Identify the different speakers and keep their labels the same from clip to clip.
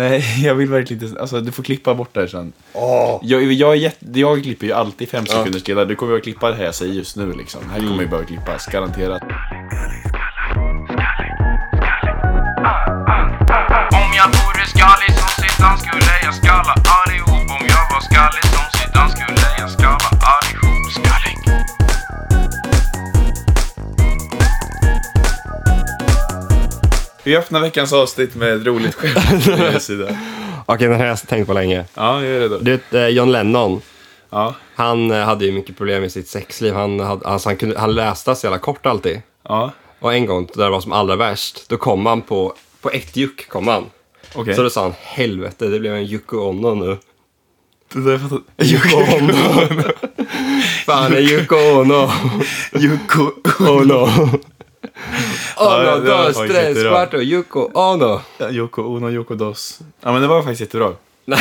Speaker 1: Nej, jag vill verkligen inte. Alltså, du får klippa bort det här sen.
Speaker 2: Åh!
Speaker 1: Jag, jag, är jätte, jag klipper ju alltid fem sekunders delar. Du kommer ju att klippa det här jag säger just nu liksom. Här kommer ju behöva klippas, garanterat.
Speaker 3: Om jag vore skallig som Zidane skulle jag skalla allihop Om jag var skallig som Zidane skulle jag skalla allihop Skallig
Speaker 1: Vi öppnar veckans avsnitt med ett roligt skämt från er sida.
Speaker 2: Okej, den här har jag tänkt på länge.
Speaker 1: Ja, jag är redo.
Speaker 2: Du vet, eh, John Lennon.
Speaker 1: Ja,
Speaker 2: Han eh, hade ju mycket problem med sitt sexliv. Han, hade, alltså, han, kunde, han läste så jävla kort alltid.
Speaker 1: ja,
Speaker 2: Och en gång, där det var som allra värst, då kom han på, på ett juck kom han.
Speaker 1: okej.
Speaker 2: Så då sa han, helvete, det blev en Yoko Ono nu.
Speaker 1: Det där fattar-
Speaker 2: Yoko Ono. Fan, en Yoko Ono.
Speaker 1: Yuko. Oh,
Speaker 2: Ono.
Speaker 1: Ja,
Speaker 2: Ono,
Speaker 1: det var
Speaker 2: dos,
Speaker 1: faktiskt
Speaker 2: tres,
Speaker 1: jättebra.
Speaker 2: cuatro, Yoko Ono.
Speaker 1: Yoko Ono, Yoko Dos. Ja, men det var faktiskt jättebra.
Speaker 2: Nej,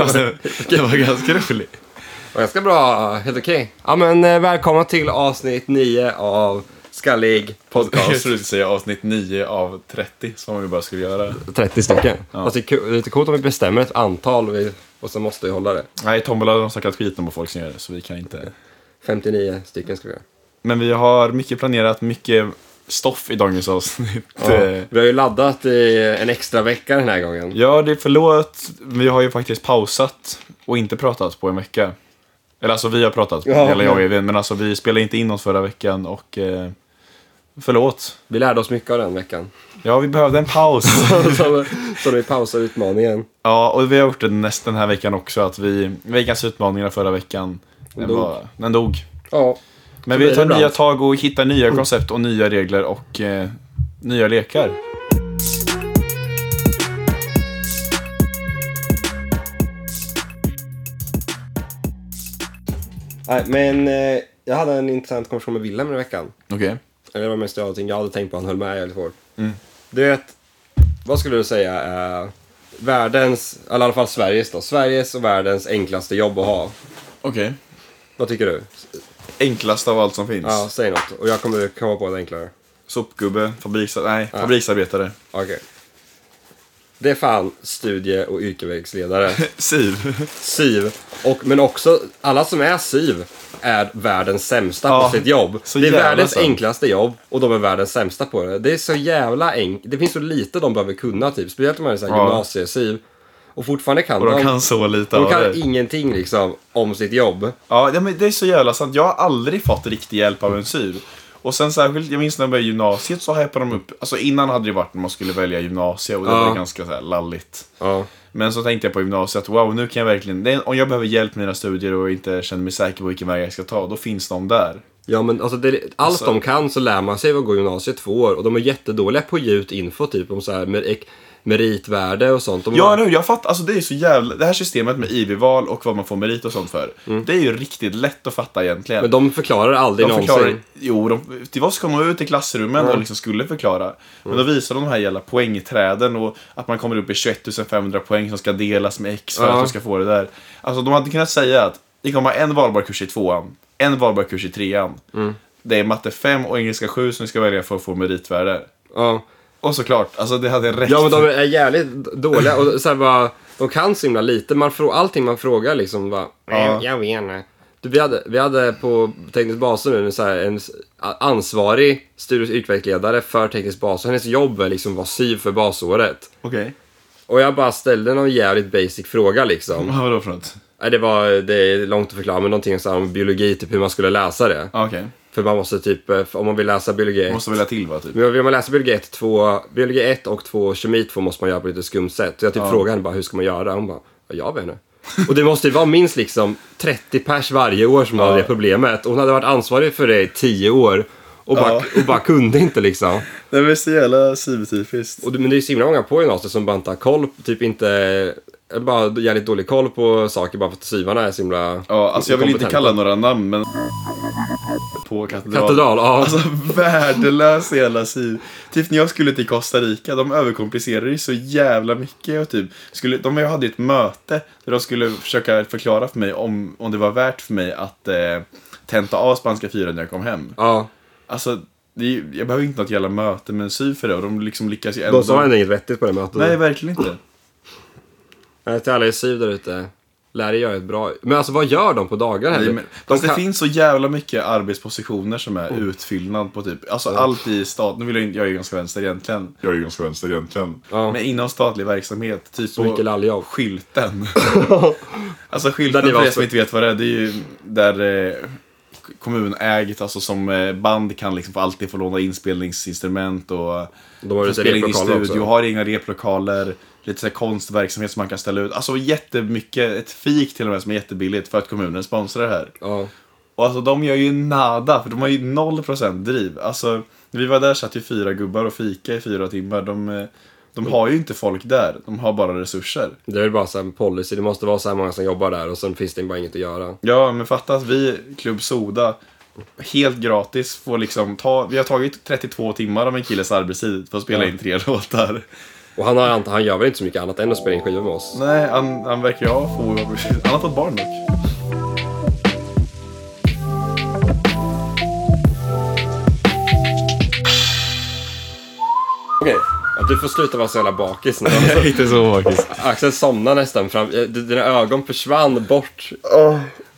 Speaker 1: Alltså, det var ganska roligt.
Speaker 2: det var ganska bra. Helt okej. Ja, men eh, välkomna till avsnitt 9 av Skallig
Speaker 1: Jag
Speaker 2: Podcast.
Speaker 1: trodde du skulle säga avsnitt 9 av 30, som vi bara skulle göra.
Speaker 2: 30 stycken. Fast det är kul- det är lite coolt om vi bestämmer ett antal vi, och så måste vi hålla det.
Speaker 1: Nej, Tombola har de snackat skit om vad folk som gör det, så vi kan inte.
Speaker 2: 59 stycken ska vi göra.
Speaker 1: Men vi har mycket planerat, mycket stoff i dagens avsnitt. Eh,
Speaker 2: Ja, vi har ju laddat i en extra vecka den här gången.
Speaker 1: Ja, det är förlåt. Vi har ju faktiskt pausat och inte pratat på en vecka. Eller alltså vi har pratat,
Speaker 2: Ja,
Speaker 1: eller jag och
Speaker 2: men-
Speaker 1: Evin, men alltså vi spelade inte in oss förra veckan och eh, förlåt.
Speaker 2: Vi lärde oss mycket av den veckan.
Speaker 1: Ja, vi behövde en paus.
Speaker 2: så, så vi pausar utmaningen.
Speaker 1: ja, och vi har gjort det näst den här veckan också, att vi, veckans utmaningar förra veckan, den,
Speaker 2: Dog.
Speaker 1: Var, den dog.
Speaker 2: Ja,
Speaker 1: Men
Speaker 2: Så
Speaker 1: vi
Speaker 2: blir
Speaker 1: tar
Speaker 2: det
Speaker 1: nya
Speaker 2: ibland.
Speaker 1: tag och hittar nya koncept och nya regler och eh, nya lekar.
Speaker 2: nej, men eh, jag hade en intressant konversation med Willem i veckan.
Speaker 1: Okej.
Speaker 2: Eller det var mest jag någonting jag hade tänkt på, han höll med jävligt hårt. Du vet, vad skulle du säga är världens, eller i alla fall Sveriges då, Sveriges och världens enklaste jobb att ha?
Speaker 1: Okej.
Speaker 2: Vad tycker du?
Speaker 1: Enklast av allt som finns.
Speaker 2: Ja, säg något. Och jag kommer komma på ett enklare.
Speaker 1: Sopgubbe, fabriks, nej, fabriksarbetare.
Speaker 2: Okej. Det är fan studie och yrkesvägsledare.
Speaker 1: Siv.
Speaker 2: SIV. Och, men också, alla som är SIV är världens sämsta
Speaker 1: Ja,
Speaker 2: på sitt jobb.
Speaker 1: så
Speaker 2: Det är
Speaker 1: jävla
Speaker 2: världens
Speaker 1: sant.
Speaker 2: enklaste jobb och de är världens sämsta på det. Det är så jävla enkelt. Det finns så lite de behöver kunna, typ. Speciellt om man är så här
Speaker 1: Ja.
Speaker 2: gymnasie-SIV. Och fortfarande kan
Speaker 1: Och de kan så lite
Speaker 2: de
Speaker 1: av
Speaker 2: kan
Speaker 1: det.
Speaker 2: ingenting liksom om sitt jobb.
Speaker 1: Ja, det- men det är så jävla sant. Jag har aldrig fått riktig hjälp av en syr. Och sen särskilt, jag minns när jag började gymnasiet så hypade de upp. Alltså innan hade det varit när man skulle välja gymnasiet och det
Speaker 2: Ja.
Speaker 1: var ganska så här lalligt.
Speaker 2: Ja.
Speaker 1: Men så tänkte jag på gymnasiet, wow nu kan jag verkligen, det är, om jag behöver hjälp med mina studier och inte känner mig säker på vilken väg jag ska ta, då finns de där.
Speaker 2: Ja men alltså det, allt de kan så lär man sig av att gå gymnasiet två år och de är jättedåliga på att ge ut info typ om så här mer, ek, meritvärde och sånt. De
Speaker 1: Ja,
Speaker 2: har-
Speaker 1: nu, jag fattar. Alltså, det är så jävla... Det här systemet med IB-val och vad man får merit och sånt för. Det är ju riktigt lätt att fatta egentligen.
Speaker 2: Mm. men de förklarar aldrig
Speaker 1: de
Speaker 2: någonsin.
Speaker 1: förklarar, jo, de, till oss kom de ut i klassrummen och liksom skulle förklara. Men då
Speaker 2: Mm.
Speaker 1: visar de de här jävla poängträden och att man kommer upp i 21 500 poäng som ska delas med X för
Speaker 2: Ja.
Speaker 1: att du ska få det där. Alltså de hade kunnat säga att ni kommer ha en valbar kurs i tvåan, en valbar kurs i trean.
Speaker 2: Mm.
Speaker 1: Det är matte 5 och engelska 7 som ni ska välja för att få meritvärde.
Speaker 2: Ja.
Speaker 1: Och såklart, alltså det hade räckt.
Speaker 2: ja men de är jävligt dåliga och så här bara, de kan så himla lite. Man frå, allting man frågar liksom bara,
Speaker 1: Ja.
Speaker 2: jag vet inte. Du, vi, hade, vi hade på teknisk basen nu en så här, en s- a- ansvarig studie och yrkesvägledare för teknisk bas. Och Hennes jobb är liksom att vara SYV för basåret.
Speaker 1: Okej,
Speaker 2: Och jag bara ställde någon jävligt basic fråga liksom.
Speaker 1: vad var det för något?
Speaker 2: Nej, det, var, det är långt att förklara, men någonting så här om biologi, typ hur man skulle läsa det.
Speaker 1: Ja, Ah, Okej,
Speaker 2: För man måste typ, eh, om man vill läsa biologi...
Speaker 1: måste välja till va, typ?
Speaker 2: Men vill man läsa biologi 1, 2, biologi 1 och 2 och kemi 2 måste man göra på lite skumt sätt. Så jag typ frågade henne bara, hur ska man göra? Hon bara, "Ja, jag vet inte. Och det måste ju vara minst liksom 30 pers varje år som hade det problemet. Och hon hade varit ansvarig för det i 10 år. Och bara,
Speaker 1: Ja.
Speaker 2: och bara kunde inte liksom.
Speaker 1: Det är så jävla cybertypiskt.
Speaker 2: Och det, men det är så himla många på gymnasiet som bara inte har koll, typ inte, bara jävligt dålig koll på saker bara för att syvarna är så himla
Speaker 1: Ja, alltså jag vill inte
Speaker 2: inkompetenta.
Speaker 1: kalla några namn, men... På katedral.
Speaker 2: Katedral, ja.
Speaker 1: Alltså värdelös jävla siv. Typ när jag skulle till Costa Rica, de överkomplicerade ju så jävla mycket. Och typ, skulle, de hade ju ett möte där de skulle försöka förklara för mig om, om det var värt för mig att eh, tenta av spanska 4 när jag kom hem.
Speaker 2: ja.
Speaker 1: Alltså, det är, ju- jag behöver inte något jävla möte med en syv för det och de liksom lyckas ju ändå.
Speaker 2: De sa ändå inget vettigt på det mötet.
Speaker 1: Nej, verkligen inte.
Speaker 2: Nej, Till alla i syd där ute. Lär er göra ett bra... Men alltså vad gör de på dagarna?
Speaker 1: Nej,
Speaker 2: heller?
Speaker 1: men,
Speaker 2: de
Speaker 1: fast det finns så jävla mycket arbetspositioner som är utfyllnad på typ, alltså allt i stat, nu vill jag inte, jag är ju ganska vänster egentligen. Jag är ju ganska vänster egentligen.
Speaker 2: Ja.
Speaker 1: Men inom statlig verksamhet, typ
Speaker 2: Så mycket lall jag.
Speaker 1: skylten. alltså skylten
Speaker 2: Där ni var
Speaker 1: för er som
Speaker 2: så-
Speaker 1: inte vet vad det är, det är ju där eh, kommunägt, alltså som eh, band kan liksom få- alltid få låna inspelningsinstrument och
Speaker 2: De har ju
Speaker 1: få spela in i
Speaker 2: replokaler också.
Speaker 1: studio, har inga replokaler, lite så här konstverksamhet som man kan ställa ut. Alltså jättemycket, ett fik till och med som är jättebilligt för att kommunen sponsrar det här.
Speaker 2: Ja.
Speaker 1: Och alltså de gör ju nada, för de har ju 0% driv. Alltså, när vi var där satt ju fyra gubbar och fika i fyra timmar. De, eh, de har ju inte folk där, de har bara resurser.
Speaker 2: Det är väl bara så här en policy. Det måste vara så här många som jobbar där och sen finns det bara inget att göra.
Speaker 1: Ja, men fatta att vi, Klubb Soda, helt gratis får liksom ta, vi har tagit 32 timmar av en killes arbetstid för att spela in tre låtar.
Speaker 2: Och han, har, ant- han gör väl inte så mycket annat än att spela in skivor med oss.
Speaker 1: Nej, han, han verkar ju ha få, han har fått barn dock. Okej.
Speaker 2: Att du får sluta vara så jävla bakis nu. Alltså,
Speaker 1: inte så faktiskt.
Speaker 2: Axel somnar nästan fram. eh, d- Dina ögon försvann bort.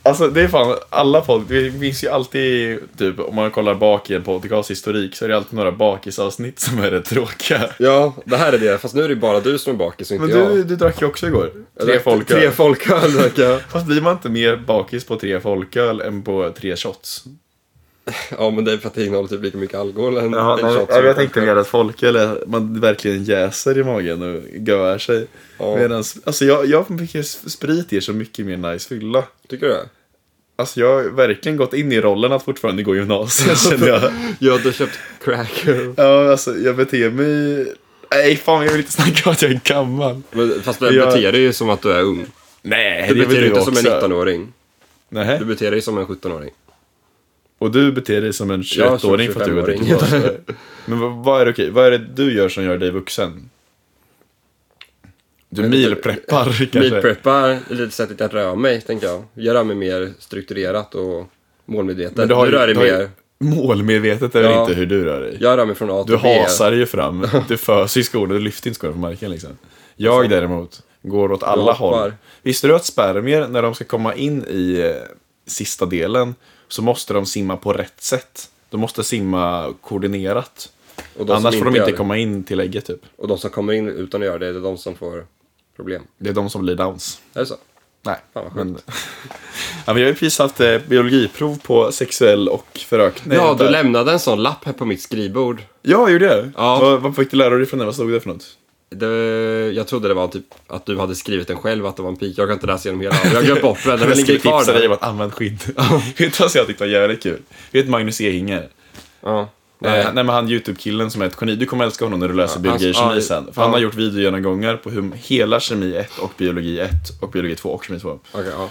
Speaker 1: Alltså det är fan, alla podd, det finns ju alltid, typ om man kollar bak i en podcasthistorik så är det alltid några bakisavsnitt som är rätt tråkiga.
Speaker 2: Ja, det här är det. Fast nu är det bara du som är bakis och inte
Speaker 1: Men
Speaker 2: jag.
Speaker 1: du, du drack ju också igår.
Speaker 2: Jag
Speaker 1: Tre
Speaker 2: drack
Speaker 1: folköl.
Speaker 2: Tre folköl drack jag.
Speaker 1: Fast blir man inte mer bakis på tre folköl än på tre shots?
Speaker 2: Ja, men det är för att det innehåller typ lika mycket alkohol än
Speaker 1: Ja,
Speaker 2: en
Speaker 1: nej,
Speaker 2: shot
Speaker 1: ja,
Speaker 2: som
Speaker 1: jag
Speaker 2: en
Speaker 1: tänkte mer
Speaker 2: folköl.
Speaker 1: att folköl är, man verkligen jäser i magen och göar sig.
Speaker 2: Ja.
Speaker 1: Medans, alltså jag, jag tycker sprit ger så mycket mer nice fylla.
Speaker 2: Tycker du det?
Speaker 1: Alltså jag har verkligen gått in i rollen att fortfarande gå i gymnasiet känner jag.
Speaker 2: Ja, du har köpt crack.
Speaker 1: Ja, alltså jag beter mig... Nej, fan jag vill inte snacka om att jag är gammal.
Speaker 2: Men, fast du
Speaker 1: Jag-
Speaker 2: beter dig ju som att du är ung.
Speaker 1: Nej,
Speaker 2: Du beter dig inte som en
Speaker 1: också.
Speaker 2: 19-åring.
Speaker 1: Nähä.
Speaker 2: Du beter dig som en 17-åring.
Speaker 1: Och du beter dig som en 21-åring för att du går till
Speaker 2: 25-åring.
Speaker 1: gymnasiet. Men vad- vad är det okej? Vad är det du gör som gör dig vuxen? Du milpreppar kanske?
Speaker 2: Meatpreppar, lite sättet jag rör mig, tänker jag. Jag rör mig mer strukturerat och målmedvetet.
Speaker 1: Men
Speaker 2: du,
Speaker 1: ju-
Speaker 2: rör dig
Speaker 1: du har ju-
Speaker 2: mer.
Speaker 1: Målmedvetet är väl
Speaker 2: Ja.
Speaker 1: inte hur du rör dig?
Speaker 2: Jag rör mig från A till
Speaker 1: Du
Speaker 2: B.
Speaker 1: hasar ju fram. Du föser i skorna. Du lyfter inte skorna från marken liksom. Jag däremot går åt alla
Speaker 2: hoppar.
Speaker 1: håll. Visste du att spermier, när de ska komma in i eh, sista delen, så måste de simma på rätt sätt. De måste simma koordinerat.
Speaker 2: Och de som
Speaker 1: Annars får de
Speaker 2: inte
Speaker 1: inte
Speaker 2: gör-
Speaker 1: komma in till ägget typ.
Speaker 2: Och de som kommer in utan att göra det, det är de som får problem.
Speaker 1: Det är de som blir downs.
Speaker 2: Är det så?
Speaker 1: Nej.
Speaker 2: Fan, vad
Speaker 1: men... ja, men jag har ju precis haft eh, biologiprov på sexuell och förökning.
Speaker 2: ja, du lämnade jag en sån lapp här på mitt skrivbord.
Speaker 1: Ja, jag gjorde det?
Speaker 2: Ja.
Speaker 1: Vad, vad fick du lära dig från det? Vad stod det för något?
Speaker 2: Det, jag trodde det var typ att du hade skrivit den själv, att det var en pik. Jag kan inte läsa igenom hela. Jag har glömt bort den. Den
Speaker 1: jag
Speaker 2: ligger
Speaker 1: skulle
Speaker 2: kvar
Speaker 1: tipsa dig om
Speaker 2: där.
Speaker 1: att använda skydd. Vet du vad jag tyckte var jävligt kul? Vet Magnus Ehinger?
Speaker 2: Ja.
Speaker 1: Nej.
Speaker 2: Eh, Nej.
Speaker 1: Nej men han YouTube-killen som är ett geni. Du kommer älska honom när du läser
Speaker 2: Ja,
Speaker 1: biologi
Speaker 2: alltså,
Speaker 1: och kemi
Speaker 2: ja,
Speaker 1: sen. För
Speaker 2: ja.
Speaker 1: han har gjort videogenomgångar på hur hela kemi 1 och biologi 1 och biologi 2 och kemi 2.
Speaker 2: Okej, ja.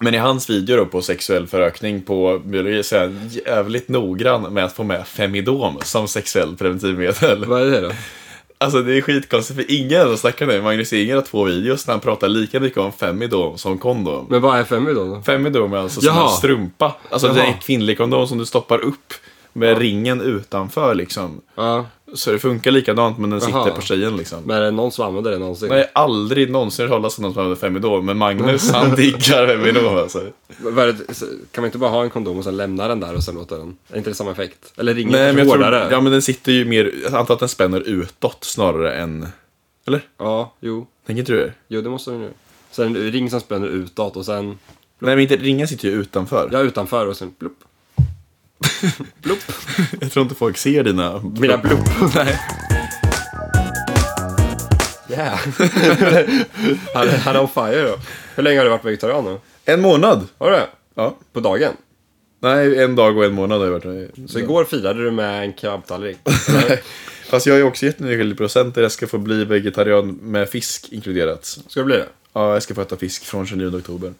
Speaker 1: Men i hans video då på sexuell förökning på biologi så är han jävligt noggrann med att få med Femidom som sexuell preventivmedel.
Speaker 2: Vad är det då?
Speaker 1: Alltså det är skitkonstigt för ingen snackar nu. Magnus Ehinger har två videos när han pratar lika mycket om Femidom som kondom.
Speaker 2: Men vad är fem idag då?
Speaker 1: Femidom är alltså som
Speaker 2: Jaha.
Speaker 1: en strumpa. Alltså det är
Speaker 2: Jaha.
Speaker 1: en kvinnlig kondom som du stoppar upp med ringen utanför liksom.
Speaker 2: Ja.
Speaker 1: Så det funkar likadant men den
Speaker 2: Jaha.
Speaker 1: sitter på tjejen liksom.
Speaker 2: Men är det någon som använder det någonsin?
Speaker 1: Nej, aldrig någonsin hört talas om någon som använder Femidom, men Magnus han diggar Femidom alltså.
Speaker 2: Vad är det- Kan man inte bara ha en kondom och sen lämna den där och sen låta den? Är inte det samma effekt? Eller ringen
Speaker 1: Nej, men jag tror,
Speaker 2: hårdare?
Speaker 1: ja men den sitter ju mer, jag antar att den spänner utåt snarare än, eller?
Speaker 2: Ja, jo.
Speaker 1: Tänker inte du det?
Speaker 2: Jo, det måste den ju. Sen en ring som spänner utåt och sen,
Speaker 1: Nej men inte, ringen sitter ju utanför.
Speaker 2: ja utanför och sen plopp. plopp.
Speaker 1: Jag tror inte folk ser dina...
Speaker 2: Mina plopp.
Speaker 1: Nej.
Speaker 2: Yeah. han, han är on fire då. Hur länge har du varit vegetarian nu?
Speaker 1: En månad!
Speaker 2: Har du det?
Speaker 1: Ja.
Speaker 2: På dagen?
Speaker 1: Nej, en dag och en månad har jag varit.
Speaker 2: Så igår firade du med en kebabtallrik?
Speaker 1: Fast jag är också jättenyfiken på procenter. Jag ska få bli vegetarian med fisk inkluderat.
Speaker 2: Ska det bli det?
Speaker 1: Ja, jag ska få äta fisk från 29 oktober.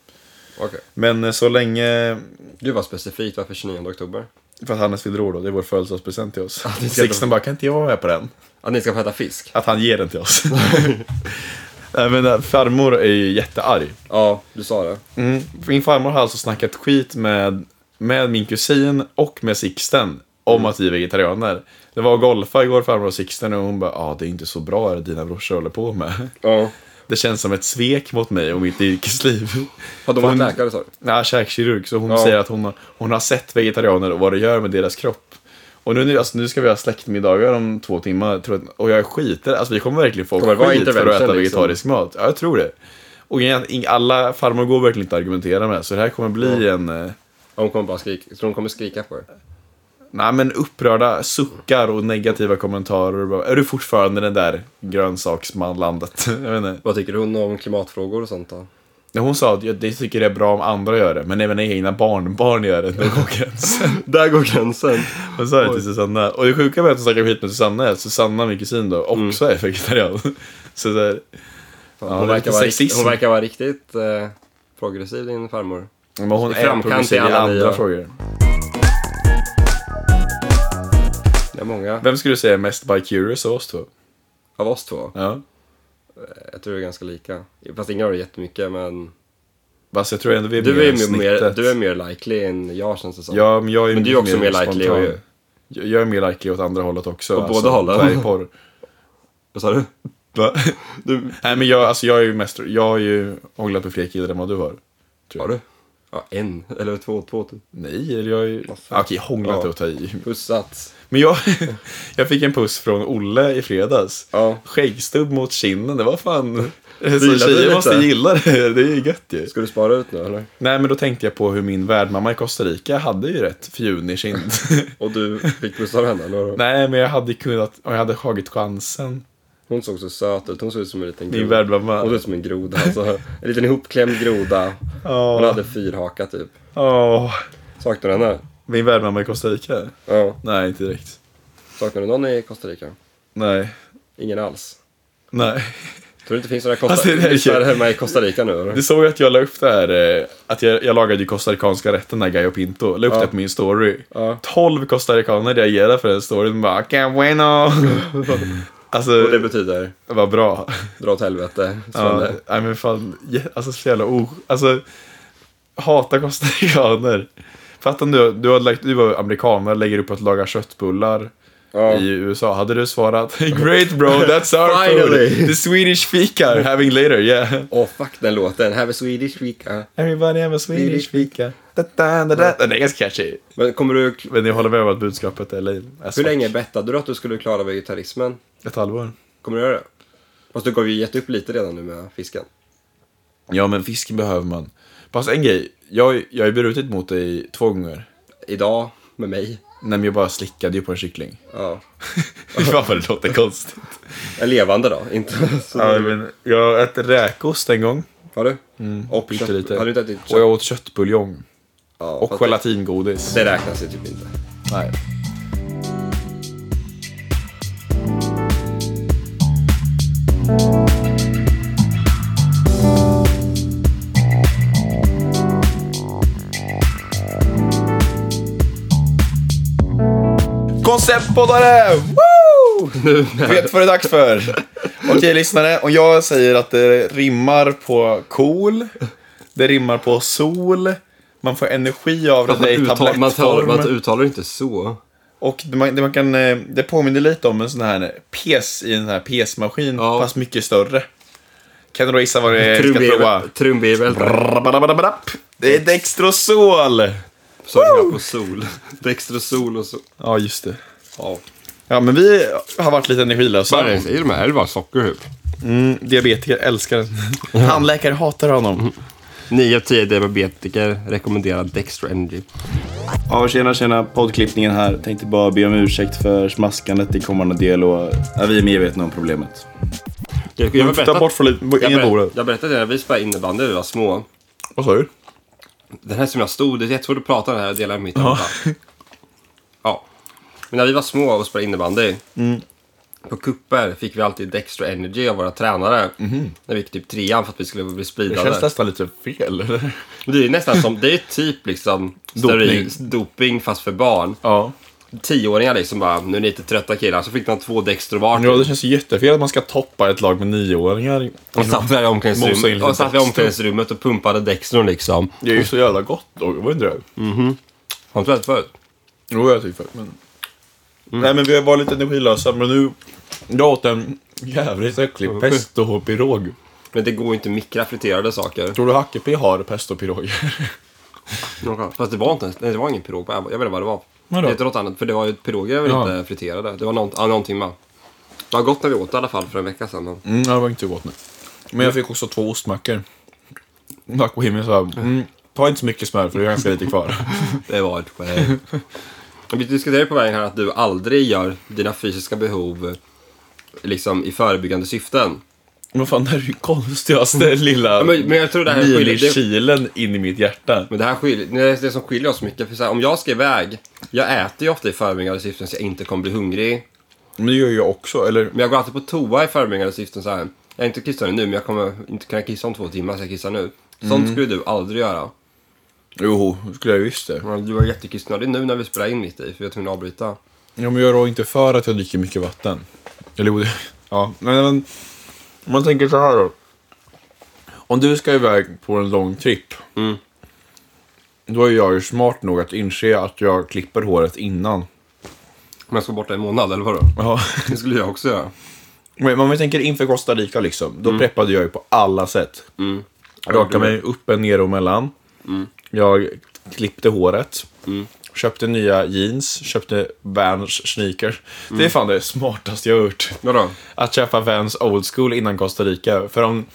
Speaker 2: Okej.
Speaker 1: Men eh, så länge...
Speaker 2: Gud vad specifikt, varför 29 oktober?
Speaker 1: För att Hannes fyller år då, det är vår födelsedagspresent till oss.
Speaker 2: det är så
Speaker 1: Sixten bara, kan inte jag vara med på den?
Speaker 2: Att ni ska få äta fisk?
Speaker 1: Att han ger den till oss. Nej men eh, farmor är ju jättearg.
Speaker 2: Ja, du sa det.
Speaker 1: Mm. Min farmor har alltså snackat skit med, med min kusin och med Sixten om
Speaker 2: Mm.
Speaker 1: att vi är vegetarianer. Det var golfa igår, farmor och Sixten, och hon bara, ja ah, det är inte så bra det dina brorsor håller på med.
Speaker 2: Ja.
Speaker 1: Det känns som ett svek mot mig och mitt yrkesliv.
Speaker 2: Har de varit
Speaker 1: Hon-
Speaker 2: läkare sa du?
Speaker 1: Nej, käkkirurg. Så hon
Speaker 2: Ja.
Speaker 1: säger att hon har, hon har sett vegetarianer och vad det gör med deras kropp. Och nu- nu, alltså, nu ska vi ha släktmiddagar om två timmar tror jag, och jag skiter Alltså vi kommer verkligen få
Speaker 2: Kommer det vara
Speaker 1: skit för att äta
Speaker 2: intervention, liksom?
Speaker 1: vegetarisk mat. Ja, jag tror det. Och igen, ing- alla farmor går verkligen inte att argumentera med, så det här kommer bli en... eh,
Speaker 2: Ja, hon kommer bara skrika. Jag tror hon kommer skrika på er.
Speaker 1: Nej men upprörda suckar och negativa kommentarer. Bara, Är du fortfarande den där grönsaksmanlandet? Jag vet inte.
Speaker 2: Vad tycker hon om klimatfrågor och sånt då?
Speaker 1: När hon sa att jag det tycker det är bra om andra gör det, men även mina egna barnbarn gör det. Då går gränsen.
Speaker 2: Där går gränsen.
Speaker 1: Hon sa det till Susanna. Och det sjuka med att hon snackar skit med Susanna är att Susanna, min kusin då,
Speaker 2: Mm.
Speaker 1: också är vegetarian. Så där,
Speaker 2: Fan,
Speaker 1: Ja,
Speaker 2: hon,
Speaker 1: det är
Speaker 2: verkar
Speaker 1: lite
Speaker 2: vara
Speaker 1: sexism.
Speaker 2: rikt, hon verkar vara riktigt eh, progressiv din farmor.
Speaker 1: men hon
Speaker 2: I
Speaker 1: är
Speaker 2: framkant i
Speaker 1: progressiv i
Speaker 2: alla
Speaker 1: andra
Speaker 2: nya-
Speaker 1: frågor.
Speaker 2: Det är många
Speaker 1: Vem skulle du säga är mest by curious av oss två?
Speaker 2: av oss två.
Speaker 1: Ja.
Speaker 2: Jag tror vi är ganska lika. Fast ingen av er är jättemycket men
Speaker 1: Fast jag tror ändå vi är
Speaker 2: du
Speaker 1: mer
Speaker 2: är,
Speaker 1: än
Speaker 2: ju mer,
Speaker 1: snittet.
Speaker 2: du är mer likely än jag känns det som.
Speaker 1: Ja, men jag är ju
Speaker 2: Men du är
Speaker 1: mycket
Speaker 2: också mer likely
Speaker 1: spontan.
Speaker 2: att-
Speaker 1: Jag jag är mer likely åt andra hållet också.
Speaker 2: Åt båda hållen.
Speaker 1: Färgporr.
Speaker 2: Vad sa du?
Speaker 1: Va? Nej men jag, alltså jag är ju mest, jag har ju hånglat med fler killar än vad du har. tror jag.
Speaker 2: Har du? Ja, en eller två, två typ.
Speaker 1: Nej, eller jag är ju...
Speaker 2: fan.
Speaker 1: Okej, hånglat
Speaker 2: Ja.
Speaker 1: är att ta i.
Speaker 2: Pussats.
Speaker 1: Men jag, jag fick en puss från Olle i fredags.
Speaker 2: Ja.
Speaker 1: Skäggstubb mot kinden, det var fan... Så
Speaker 2: gillade det
Speaker 1: tjejer
Speaker 2: lite.
Speaker 1: måste gilla det, det är ju gött ju.
Speaker 2: Ska du spara ut nu eller?
Speaker 1: Nej men då tänkte jag på hur min värdmamma i Costa Rica hade ju rätt fjunig kind.
Speaker 2: Och du fick pussa av henne eller? vadå?
Speaker 1: Nej men jag hade kunnat, och jag hade tagit chansen.
Speaker 2: Hon såg så söt ut. Hon såg ut som en liten
Speaker 1: Min
Speaker 2: groda. Hon såg
Speaker 1: värdmamma.
Speaker 2: ut som en groda alltså. En liten ihopklämd groda. Hon
Speaker 1: Åh,
Speaker 2: hade fyrhaka typ.
Speaker 1: åh.
Speaker 2: Saknar du henne?
Speaker 1: Min värdmamma i Costa Rica?
Speaker 2: Ja.
Speaker 1: Nej, inte direkt.
Speaker 2: Saknar du någon i Costa Rica?
Speaker 1: Nej.
Speaker 2: Ingen alls.
Speaker 1: Nej.
Speaker 2: Tror du inte det finns några Costa
Speaker 1: Alltså, det är ju-
Speaker 2: Rica hemma i Costa Rica nu eller?
Speaker 1: Du såg ju att jag la upp det här, eh, att jag, jag lagade ju costaricanska rätten där Gallo Pinto. La upp
Speaker 2: Ja.
Speaker 1: det på min story.
Speaker 2: Ja.
Speaker 1: 12 costaricaner reagerade för den storyn. Bara, que bueno! alltså,
Speaker 2: Och det betyder
Speaker 1: vad bra.
Speaker 2: dra åt helvete.
Speaker 1: Ja,
Speaker 2: Ja.
Speaker 1: nej men fan, jä- alltså så jävla o... Alltså, hata costaricaner. Fattar du, du, hade lagt, du var amerikaner, lägger upp att laga köttbullar.
Speaker 2: Ja.
Speaker 1: i USA. Hade du svarat “Great bro, that's our
Speaker 2: Finally.
Speaker 1: food, the Swedish fika are having later, yeah”.
Speaker 2: Åh fuck den låten, Have a Swedish week. ja.
Speaker 1: Everybody have a Swedish fika. Da, da, da, da. Den är ganska catchy.
Speaker 2: Men kommer du...
Speaker 1: Men jag håller med om att budskapet är lame.
Speaker 2: Hur länge bettade du att du skulle klara vegetarismen?
Speaker 1: Ett halvår.
Speaker 2: Kommer du göra det? Fast du gav ju gett upp lite redan nu med fisken.
Speaker 1: Ja, men fisk behöver man. Fast en grej, jag, jag har ju brutit mot dig två gånger.
Speaker 2: Idag, med mig.
Speaker 1: Nej, men jag bara slickade ju på en kyckling.
Speaker 2: Ja.
Speaker 1: Fy fan vad det låter konstigt.
Speaker 2: En levande då, inte så...
Speaker 1: ja, men jag åt räkost en gång.
Speaker 2: Har du? Och
Speaker 1: Lite,
Speaker 2: kött...
Speaker 1: lite.
Speaker 2: Har du inte ätit
Speaker 1: Och
Speaker 2: kött?
Speaker 1: jag åt köttbuljong.
Speaker 2: Ja,
Speaker 1: Och
Speaker 2: fast det-
Speaker 1: gelatingodis.
Speaker 2: Det räknas ju typ inte.
Speaker 1: Nej. Konceptpoddare! Woo!
Speaker 2: Nu
Speaker 1: Vet vad det är dags för. Okej, lyssnare. Om jag säger att det rimmar på cool, det rimmar på sol, man får energi av det, det är i tablettform.
Speaker 2: uttalar inte så.
Speaker 1: Och det man, det, man kan, eh, det påminner lite om en sån här pes i en här pesmaskin,
Speaker 2: Ja.
Speaker 1: fast mycket större. Kan du då gissa vad det ska prova?
Speaker 2: Trumvirvel.
Speaker 1: Rabadabadabadap. Det är Dextrosol!
Speaker 2: Så är det på sol. Dextrosol och så.
Speaker 1: Ja, just det.
Speaker 2: Ja.
Speaker 1: Ja, men vi har varit lite energilösa.
Speaker 2: I de här är det bara socker typ.
Speaker 1: Mm, diabetiker älskar den. Tandläkare hatar honom.
Speaker 2: 9 av 10 diabetiker rekommenderar Dextro Energy.
Speaker 1: Ja, tjena, tjena. Poddklippningen här. Tänkte bara be om ursäkt för smaskandet i kommande del och ja, vi är medvetna om problemet.
Speaker 2: Jag, jag, har berättat-
Speaker 1: Ta bort från
Speaker 2: jag,
Speaker 1: ingen
Speaker 2: ber,
Speaker 1: bordet.
Speaker 2: jag berättade det när vi spelade innebandy när vi var små.
Speaker 1: Vad sa du?
Speaker 2: Den här som jag stod, det är jättesvårt att prata den här, jag delar med mitt ja. ja. Men när vi var små och spelade innebandy.
Speaker 1: Mm.
Speaker 2: På kupper fick vi alltid Dextro Energy av våra tränare. När vi gick typ trean för att vi skulle bli
Speaker 1: Mhm. Det
Speaker 2: speedade.
Speaker 1: känns nästan lite fel. eller?
Speaker 2: Men Det är nästan som, det är typ liksom
Speaker 1: Dopning.
Speaker 2: doping, doping fast för barn.
Speaker 1: Ja.
Speaker 2: Tioåringar liksom bara, nu är ni lite trötta killar. Så fick de två Dextro var.
Speaker 1: Ja, det känns ju jättefel att man ska toppa ett lag med nioåringar.
Speaker 2: Och satt vi här
Speaker 1: Mosa
Speaker 2: i
Speaker 1: in
Speaker 2: omklädningsrummet
Speaker 1: lite
Speaker 2: och, satt vi i
Speaker 1: Dextro.
Speaker 2: omklädningsrummet och pumpade Dextron liksom.
Speaker 1: Det är ju så jävla gott då, var det inte det?
Speaker 2: Har du inte ätit förut?
Speaker 1: Jo, jag tycker men... Nej, men vi var lite energilösa, men nu... Jag åt en jävligt äcklig pesto och pirog.
Speaker 2: Men det går ju inte att mikra friterade saker.
Speaker 4: Tror du Hackepé har pesto piroger?
Speaker 2: Fast det var inte ens- nej, det var ingen pirog. Jag vet inte vad det var.
Speaker 5: Vadå?
Speaker 2: Det hette något annat. För det var ju piroger var
Speaker 4: Ja.
Speaker 2: inte friterade. Det var nånt, ja, någonting med. Det var gott när vi åt det, i alla fall för en vecka sedan. Men...
Speaker 4: Mm, ja, det var inte så gott nu. Men jag fick också två ostmackor. Tack och himmel sa mm, ta inte så mycket smör för det är ganska lite kvar.
Speaker 2: Det var ett skämt. Vi diskuterade på vägen här att du aldrig gör dina fysiska behov liksom i förebyggande syften.
Speaker 4: Men fan, det här är ju konstigaste lilla
Speaker 2: Ja, Men, men jag tror det här skiljer... Det,
Speaker 4: minikilen in i mitt hjärta.
Speaker 2: men det här skiljer... Det är det som skiljer oss mycket. För så här, om jag ska iväg, jag äter ju ofta i förebyggande syften så jag inte kommer bli hungrig.
Speaker 4: Men det gör jag också, eller?
Speaker 2: Men jag går alltid på toa i förebyggande syften så här. Jag är inte kissnödig nu, men jag kommer inte kunna kissa om två timmar så jag kissar nu. Sånt
Speaker 4: Mm.
Speaker 2: skulle du aldrig göra.
Speaker 4: Jo, det skulle jag visst det.
Speaker 2: Men Du var jättekissnödig nu när vi spelade in mitt i, för vi var tvungna att avbryta.
Speaker 4: Ja, men jag rår inte för att jag dricker mycket vatten. Eller jo, det- ja. Men, men om man tänker så här då. Om du ska iväg på en lång tripp.
Speaker 2: Mm.
Speaker 4: Då är jag ju smart nog att inse att jag klipper håret innan.
Speaker 2: Men jag ska borta i en månad, eller vadå?
Speaker 4: Ja.
Speaker 2: Det skulle jag också göra.
Speaker 4: Men om vi tänker inför Costa Rica liksom. Då preppade jag ju på alla sätt.
Speaker 2: Mm.
Speaker 4: Rakade mig uppe, ner och mellan. Jag klippte håret. Köpte nya jeans. Köpte Vans sneakers. Det är fan det smartaste jag har gjort.
Speaker 2: Vadå?
Speaker 4: Att köpa Vans old school innan Costa Rica. För om,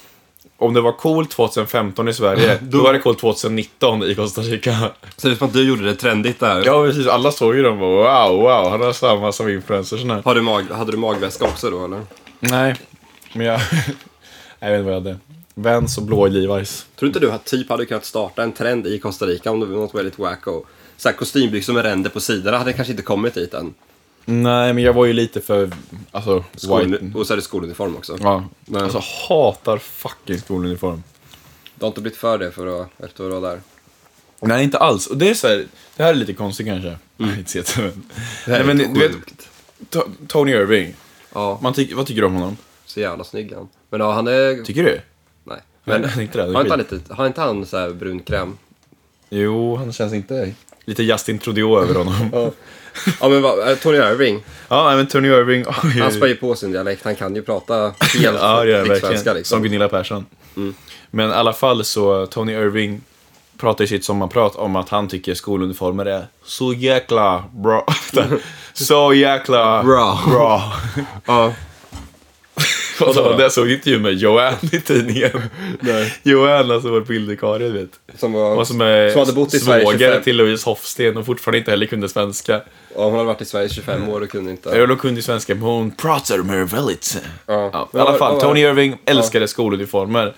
Speaker 4: om det var coolt 2015 i Sverige, då var det coolt 2019 i Costa Rica.
Speaker 2: Ser ut som att du gjorde det trendigt där.
Speaker 4: Ja, precis. Alla såg ju dem och bara, wow, wow, han har samma som influencersna.
Speaker 2: Har du mag, hade du magväska också då eller?
Speaker 4: Nej, men jag... jag vet inte vad jag hade. Vans och blå Levi's.
Speaker 2: Tror inte du att typ hade kunnat starta en trend i Costa Rica om det var något väldigt wacko? Så här kostymbyxor med ränder på sidorna hade kanske inte kommit dit än.
Speaker 4: Nej, men jag var ju lite för... Alltså, white.
Speaker 2: Skol, och så är det skoluniform också.
Speaker 4: Ja,
Speaker 2: Nej.
Speaker 4: alltså hatar fucking skoluniform.
Speaker 2: Du har inte blivit för det för att, efter att vara där.
Speaker 4: Nej, inte alls. Och det är så här, det här är lite konstigt kanske. Mm. Inte så jättemen. Nej, men du vet, To- Tony Irving.
Speaker 2: Ja,
Speaker 4: Man tycker- vad tycker du om honom?
Speaker 2: så jävla snygg han. Men ja, han är...
Speaker 4: Tycker du?
Speaker 2: Nej.
Speaker 4: Men,
Speaker 2: Men
Speaker 4: Nej, inte det.
Speaker 2: har
Speaker 4: här, det
Speaker 2: inte
Speaker 4: är
Speaker 2: han
Speaker 4: skit.
Speaker 2: lite, har inte han så här brun kräm?
Speaker 4: Jo, han känns inte... Lite Justin Trudeau över honom. ja,
Speaker 2: Mm. Ja men vad, eh, Tony Irving,
Speaker 4: nej, men Tony Irving...
Speaker 2: han spär ju på sin dialekt. Han kan ju prata helt
Speaker 4: ja, det gör han
Speaker 2: rikssvenska
Speaker 4: verkligen.
Speaker 2: liksom. Mm.
Speaker 4: Som Gunilla Persson. Men i alla fall så, Tony Irving pratar i sitt sommarprat om att han tycker skoluniformer är så jäkla bra. så jäkla
Speaker 2: Bra.
Speaker 4: bra.
Speaker 2: Ja.
Speaker 4: Och så, där såg jag intervju med Joanne i tidningen.
Speaker 2: Nej.
Speaker 4: Joanne, alltså vår bildvikarie, du vet.
Speaker 2: Som, var,
Speaker 4: Hon som är
Speaker 2: som hade bott i Sverige 25
Speaker 4: svåger till Louise Hofsten och fortfarande inte heller kunde svenska.
Speaker 2: Ja, hon hade varit i Sverige i 25 år och kunde inte.
Speaker 4: Eller hon kunde ju svenska, men hon pratade med väldigt... eh,
Speaker 2: Ja. Mm.
Speaker 4: Ja, I alla fall, Tony Irving älskade skoluniformer.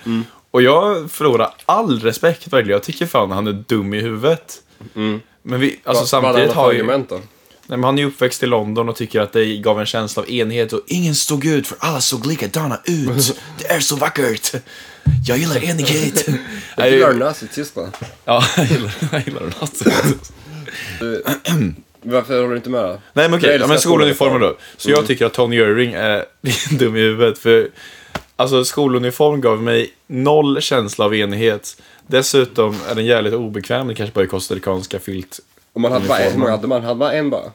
Speaker 4: Och jag förlorar all respekt verkligen. Jag tycker fan han är dum i huvudet.
Speaker 2: Mm.
Speaker 4: Men vi, alltså
Speaker 2: Va-
Speaker 4: samtidigt
Speaker 2: vad hade han
Speaker 4: har
Speaker 2: för
Speaker 4: ju...
Speaker 2: argument då?
Speaker 4: Nej, men han är ju uppväxt i London och tycker att det gav en känsla av enhet och ingen stod ut för alla såg likadana ut. Det är så vackert. Jag gillar enighet.
Speaker 2: Jag
Speaker 4: Nej,
Speaker 2: gillar nazit Tyskland.
Speaker 4: Ja, jag gillar, jag gillar den.
Speaker 2: Varför håller du inte med då?
Speaker 4: Nej men okej,
Speaker 2: Jag
Speaker 4: ja,
Speaker 2: älskar Mm.
Speaker 4: men skoluniformer då. Så jag tycker att Tony Irving är dum i huvudet. För alltså, skoluniform gav mig noll känsla av enighet. Dessutom är den jävligt obekväm. Det kanske bara är kostarikanska filt.
Speaker 2: Om man hade bara en, hur
Speaker 4: Uniformen.
Speaker 2: många hade man? Hade man en bara?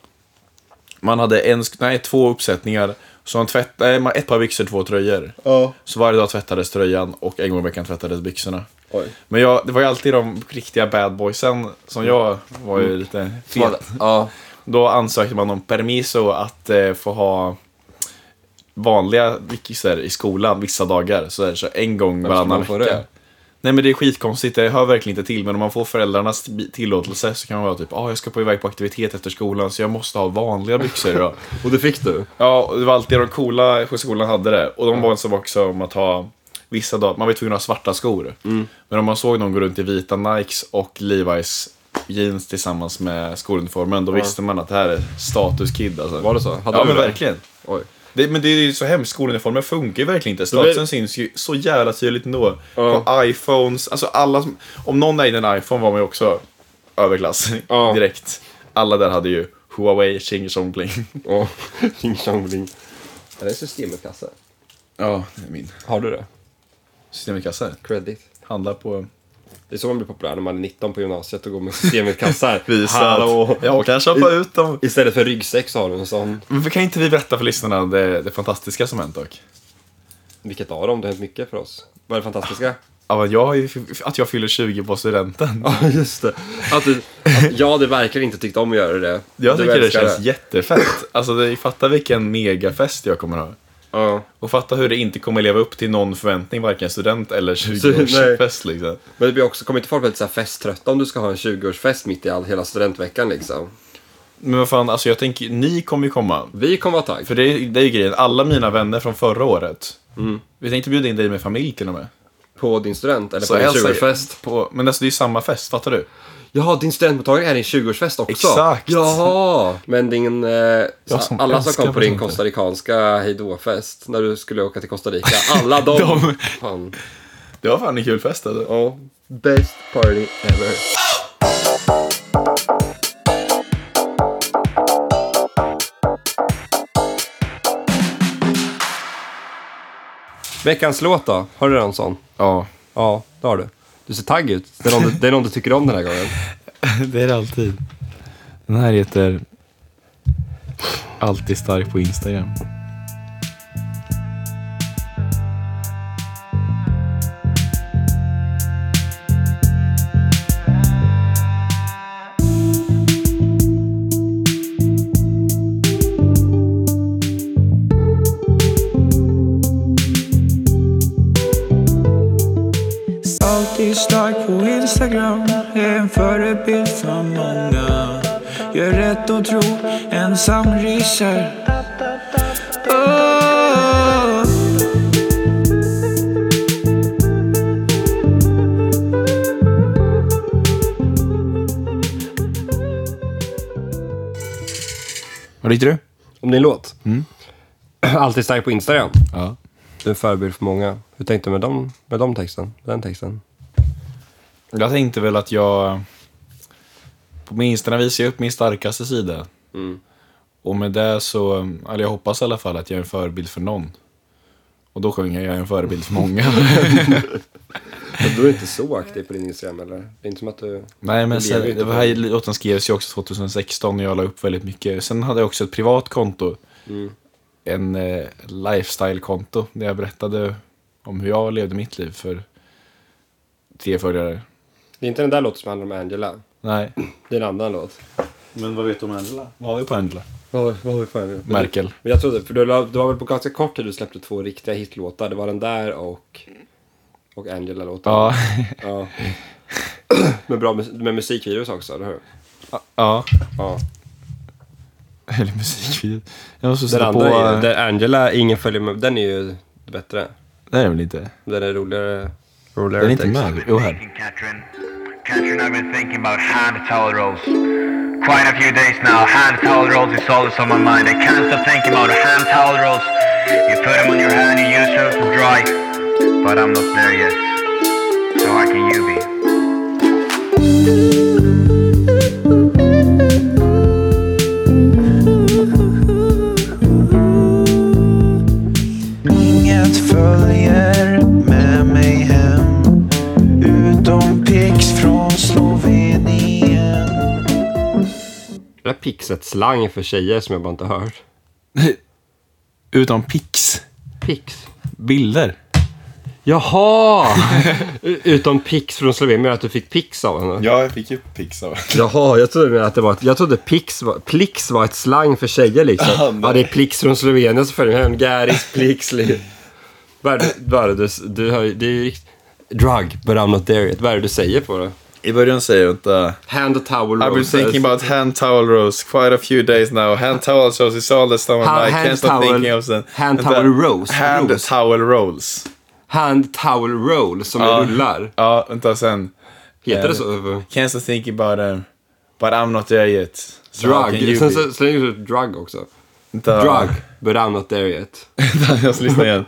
Speaker 4: Man hade en, sk- nej, två uppsättningar. Så man tvätt, nej, man- ett par byxor, två tröjor.
Speaker 2: Ja.
Speaker 4: Så varje dag tvättades tröjan och en gång i veckan tvättades byxorna.
Speaker 2: Oj.
Speaker 4: Men jag, det var ju alltid de riktiga bad boysen som jag var
Speaker 2: Mm.
Speaker 4: ju lite fet.
Speaker 2: Ja.
Speaker 4: Då ansökte man om permiso att eh, få ha vanliga vikisar i skolan vissa dagar. Så, där, så en gång varannan
Speaker 2: man få
Speaker 4: vecka.
Speaker 2: det?
Speaker 4: Nej men det är skitkonstigt, det hör verkligen inte till. Men om man får föräldrarnas bi- tillåtelse så kan man vara typ, ah, jag ska på iväg på aktivitet efter skolan så jag måste ha vanliga byxor idag.
Speaker 2: Och det fick du?
Speaker 4: ja, och det var alltid de coola på skolan hade det. Och de var som också om att ha vissa dagar, man var ju tvungen att ha svarta skor.
Speaker 2: Mm.
Speaker 4: Men om man såg någon gå runt i vita Nikes och Levi's jeans tillsammans med skoluniformen, då visste man att det här är statuskid alltså.
Speaker 2: Var det så? Hade
Speaker 4: Ja
Speaker 2: du
Speaker 4: men
Speaker 2: det?
Speaker 4: verkligen.
Speaker 2: Oj.
Speaker 4: Det, men det är ju så hemskt, skoluniformer funkar ju verkligen inte.
Speaker 2: blir-
Speaker 4: Statusen syns ju så jävla tydligt ändå.
Speaker 2: Ja.
Speaker 4: På iPhones, alltså alla som, Om någon ägde en iPhone var man ju också överklass
Speaker 2: Ja.
Speaker 4: direkt. Alla där hade ju Huawei, Ching Chong Bling.
Speaker 2: Ja. Ching chong bling. Är det systemetkasse?
Speaker 4: Ja, det är min.
Speaker 2: Har du det?
Speaker 4: Systemet kassar.
Speaker 2: Credit.
Speaker 4: Handla på...
Speaker 2: Det är så man blir populär när man är 19 på gymnasiet och går med systemetkassar.
Speaker 4: Hallå! Jag kan köpa ut dem.
Speaker 2: Istället för ryggsäck så har du en sån.
Speaker 4: Men kan inte vi berätta för lyssnarna det, det fantastiska som hänt dock?
Speaker 2: Vilket av dem? Det har hänt mycket för oss. Vad är det fantastiska?
Speaker 4: Ja, men jag har ju, att jag fyller 20 på studenten.
Speaker 2: Ja, just det. Att du, att jag hade verkligen inte tyckt om att göra det.
Speaker 4: Jag
Speaker 2: Du
Speaker 4: tycker det
Speaker 2: älskar
Speaker 4: känns jättefett. Alltså, det- fatta vilken megafest jag kommer ha.
Speaker 2: Ja.
Speaker 4: Och fatta hur det inte kommer leva upp till någon förväntning, varken student eller 20-årsfest liksom.
Speaker 2: Men det blir också, kommer inte folk bli lite så här festtrötta om du ska ha en 20-årsfest mitt i all, hela studentveckan liksom?
Speaker 4: Men vad fan, alltså jag tänker, ni kommer ju komma.
Speaker 2: Vi kommer vara tagg.
Speaker 4: För det, är- det är ju grejen, alla mina vänner från förra året. Vi tänkte bjuda in dig med familj till och med.
Speaker 2: På din student eller
Speaker 4: Så
Speaker 2: på din
Speaker 4: hälsa-
Speaker 2: 20-årsfest.
Speaker 4: På, men alltså det är ju samma fest, fattar du?
Speaker 2: Jaha, din studentmottagning är din 20-årsfest också?
Speaker 4: Exakt.
Speaker 2: Jaha! Men din, eh,
Speaker 4: Jag som
Speaker 2: alla som kom
Speaker 4: älskar
Speaker 2: på din
Speaker 4: presenter.
Speaker 2: costaricanska hejdå-fest när du skulle åka till Costa Rica, alla de...
Speaker 4: De-
Speaker 2: Fan.
Speaker 4: Det var fan en kul fest alltså.
Speaker 2: Ja, best party ever. Veckans låt då? Har du någon sån?
Speaker 4: Ja,
Speaker 2: Ja, det har du. Du ser tagg ut. Det är någon du, det är någon du tycker om den här gången.
Speaker 4: det är det alltid. Den här heter Alltid stark på Instagram.
Speaker 5: Alltid stark på Instagram, är en förebild för många. Gör rätt och tro, ensam ryser. Oh.
Speaker 4: Vad tyckte du?
Speaker 2: Om din låt? Alltid stark på Instagram.
Speaker 4: Ja.
Speaker 2: Du är en förebild för många. Hur tänkte du med, dem, med, de texten, med den texten?
Speaker 4: Jag tänkte väl att jag... På min Instagram visar jag upp min starkaste sida. Och med det så... Eller jag hoppas i alla fall att jag är en förebild för någon. Och då sjunger jag "Jag är en förebild för många.
Speaker 2: Men du är inte så aktiv på din Instagram eller? Det är inte som att du...
Speaker 4: Nej, men
Speaker 2: Du lever
Speaker 4: sen,
Speaker 2: ju inte
Speaker 4: det var
Speaker 2: på
Speaker 4: här låten skrevs ju också 2016 och jag la upp väldigt mycket. Sen hade jag också ett privat konto. En eh, lifestyle-konto där jag berättade om hur jag levde mitt liv för tre följare.
Speaker 2: Det är inte den där låten som handlar om Angela.
Speaker 4: Nej.
Speaker 2: Det är en annan låt.
Speaker 4: Men vad vet du om Angela? Vad har vi på Angela?
Speaker 2: Vad har vi för Angela?
Speaker 4: Merkel.
Speaker 2: Men jag trodde, för du, la- det var väl på ganska kort tid du släppte två riktiga hitlåtar. Det var den där och, och Angela-låten.
Speaker 4: Ja.
Speaker 2: ja. med, bra, mus- med musikvideos också, eller hur?
Speaker 4: ja.
Speaker 2: Ja.
Speaker 4: Eller musikvideo. Jag måste
Speaker 2: Den
Speaker 4: sätta på...
Speaker 2: andra, är ju- där Angela, ingen följer med, den är ju bättre.
Speaker 4: Nej, det är väl inte?
Speaker 2: Den är roligare. roligare
Speaker 4: Den är inte
Speaker 2: text.
Speaker 4: med. Jo, här.
Speaker 6: Thinking, Katrin. Katrin, I've been thinking about hand towel rolls. Quite a few days now. Hand towel rolls is always on my mind. I can't stop thinking about hand towel rolls. You put them on your hand, you use them to dry. But I'm not there yet. So how can you be?
Speaker 5: Inget följer med mig hem Utom Pix från Slovenien
Speaker 2: Det där pixet-slang för tjejer som jag bara inte hört.
Speaker 4: Utan pix.
Speaker 2: Pix?
Speaker 4: Bilder.
Speaker 2: Jaha! U- Utom pix från Slovenien, menar du att du fick pix av henne?
Speaker 4: Ja, jag fick ju pix av
Speaker 2: Jaha, jag trodde, mer att det var ett, jag trodde pix var, plix var ett slang för tjejer liksom.
Speaker 4: Ah, nej.
Speaker 2: ja, det är plix från Slovenien så följer hem Garis plix. liksom. Vad är det- vad är det du- du har ju- det är ju rikt- Drug, but I'm not there yet. Vad är det du säger på det?
Speaker 4: I början säger jag inte...
Speaker 2: Hand and towel
Speaker 4: I've been
Speaker 2: roses.
Speaker 4: thinking about hand towel rolls quite a few days now. Hand towel rolls is all that's on my
Speaker 2: Ha-
Speaker 4: mind.
Speaker 2: hand
Speaker 4: Can't stop
Speaker 2: towel-
Speaker 4: thinking of them.
Speaker 2: hand
Speaker 4: Vänta.
Speaker 2: towel rolls.
Speaker 4: Hand
Speaker 2: Rolls.
Speaker 4: towel rolls.
Speaker 2: Hand towel roll som är rullar.
Speaker 4: Ja, vänta sen.
Speaker 2: Heter det
Speaker 4: Eh,
Speaker 2: så?
Speaker 4: Can't stop thinking about them. But I'm not there yet. So how can
Speaker 2: Drug.
Speaker 4: you
Speaker 2: Sen
Speaker 4: be?
Speaker 2: så slänger du ut drug också.
Speaker 4: Vänta.
Speaker 2: Drug, but I'm not there yet.
Speaker 4: Vänta, jag ska lyssna igen.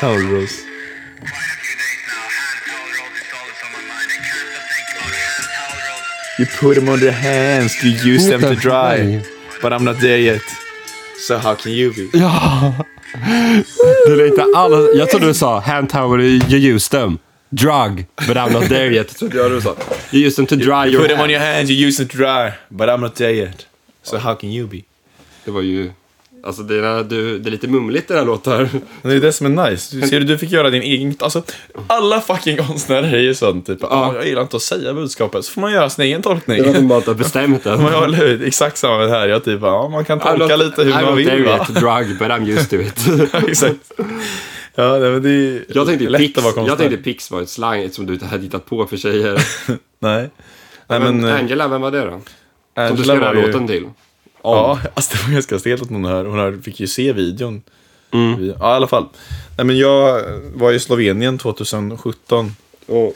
Speaker 4: Towel rolls.
Speaker 6: Quite a few days now. Hand towel rolls is always on my mind. I can't stop thinking about hand towel rolls.
Speaker 4: You put them on their hands to use them
Speaker 2: the
Speaker 4: to dry.
Speaker 2: hell?
Speaker 4: But I'm not there yet. So how can you be?
Speaker 2: Ja! Du lät inte alls... Jag trodde du sa hand towel, you use them. Drug, but I'm not there yet. Trodde jag du sa. You use them to dry
Speaker 4: Put
Speaker 2: your
Speaker 4: them on
Speaker 2: hand.
Speaker 4: your hands, you use them to dry. But I'm not there yet. So how can you be?
Speaker 2: Det var ju... Alltså det är, du, det är lite mumligt i den här låten.
Speaker 4: Det är det som är nice. Du, ser du, du fick göra din egen... Alltså, alla fucking konstnärer är ju sån typ. "Ah, Jag gillar inte att säga budskapet. Så får man göra sin egen tolkning.
Speaker 2: Det var de bara inte har bestämt det.
Speaker 4: Men jag eller hur? Exakt samma med det här. Jag typ, ja, man kan
Speaker 2: I
Speaker 4: tolka
Speaker 2: don't-
Speaker 4: lite hur
Speaker 2: I
Speaker 4: man
Speaker 2: don't
Speaker 4: vill
Speaker 2: dare
Speaker 4: va?
Speaker 2: it, drug, but I'm used to it.
Speaker 4: Exakt. Ja, nej, men det är
Speaker 2: Jag tänkte,
Speaker 4: lätt
Speaker 2: pix,
Speaker 4: att vara
Speaker 2: jag
Speaker 4: konstnär.
Speaker 2: tänkte pix var ett slang som du inte hade hittat på för tjejer.
Speaker 4: Nej. Nej, men,
Speaker 2: Men
Speaker 4: eh,
Speaker 2: Angela, vem var det då? Som du
Speaker 4: Angela
Speaker 2: skrev den här
Speaker 4: var ju-
Speaker 2: låten till.
Speaker 4: Ja, alltså det var ganska stelt att hon hör. Hon hör, fick ju se videon.
Speaker 2: Mm.
Speaker 4: Vi- Ja, i alla fall. Nej, men jag var i Slovenien 2017
Speaker 2: Och,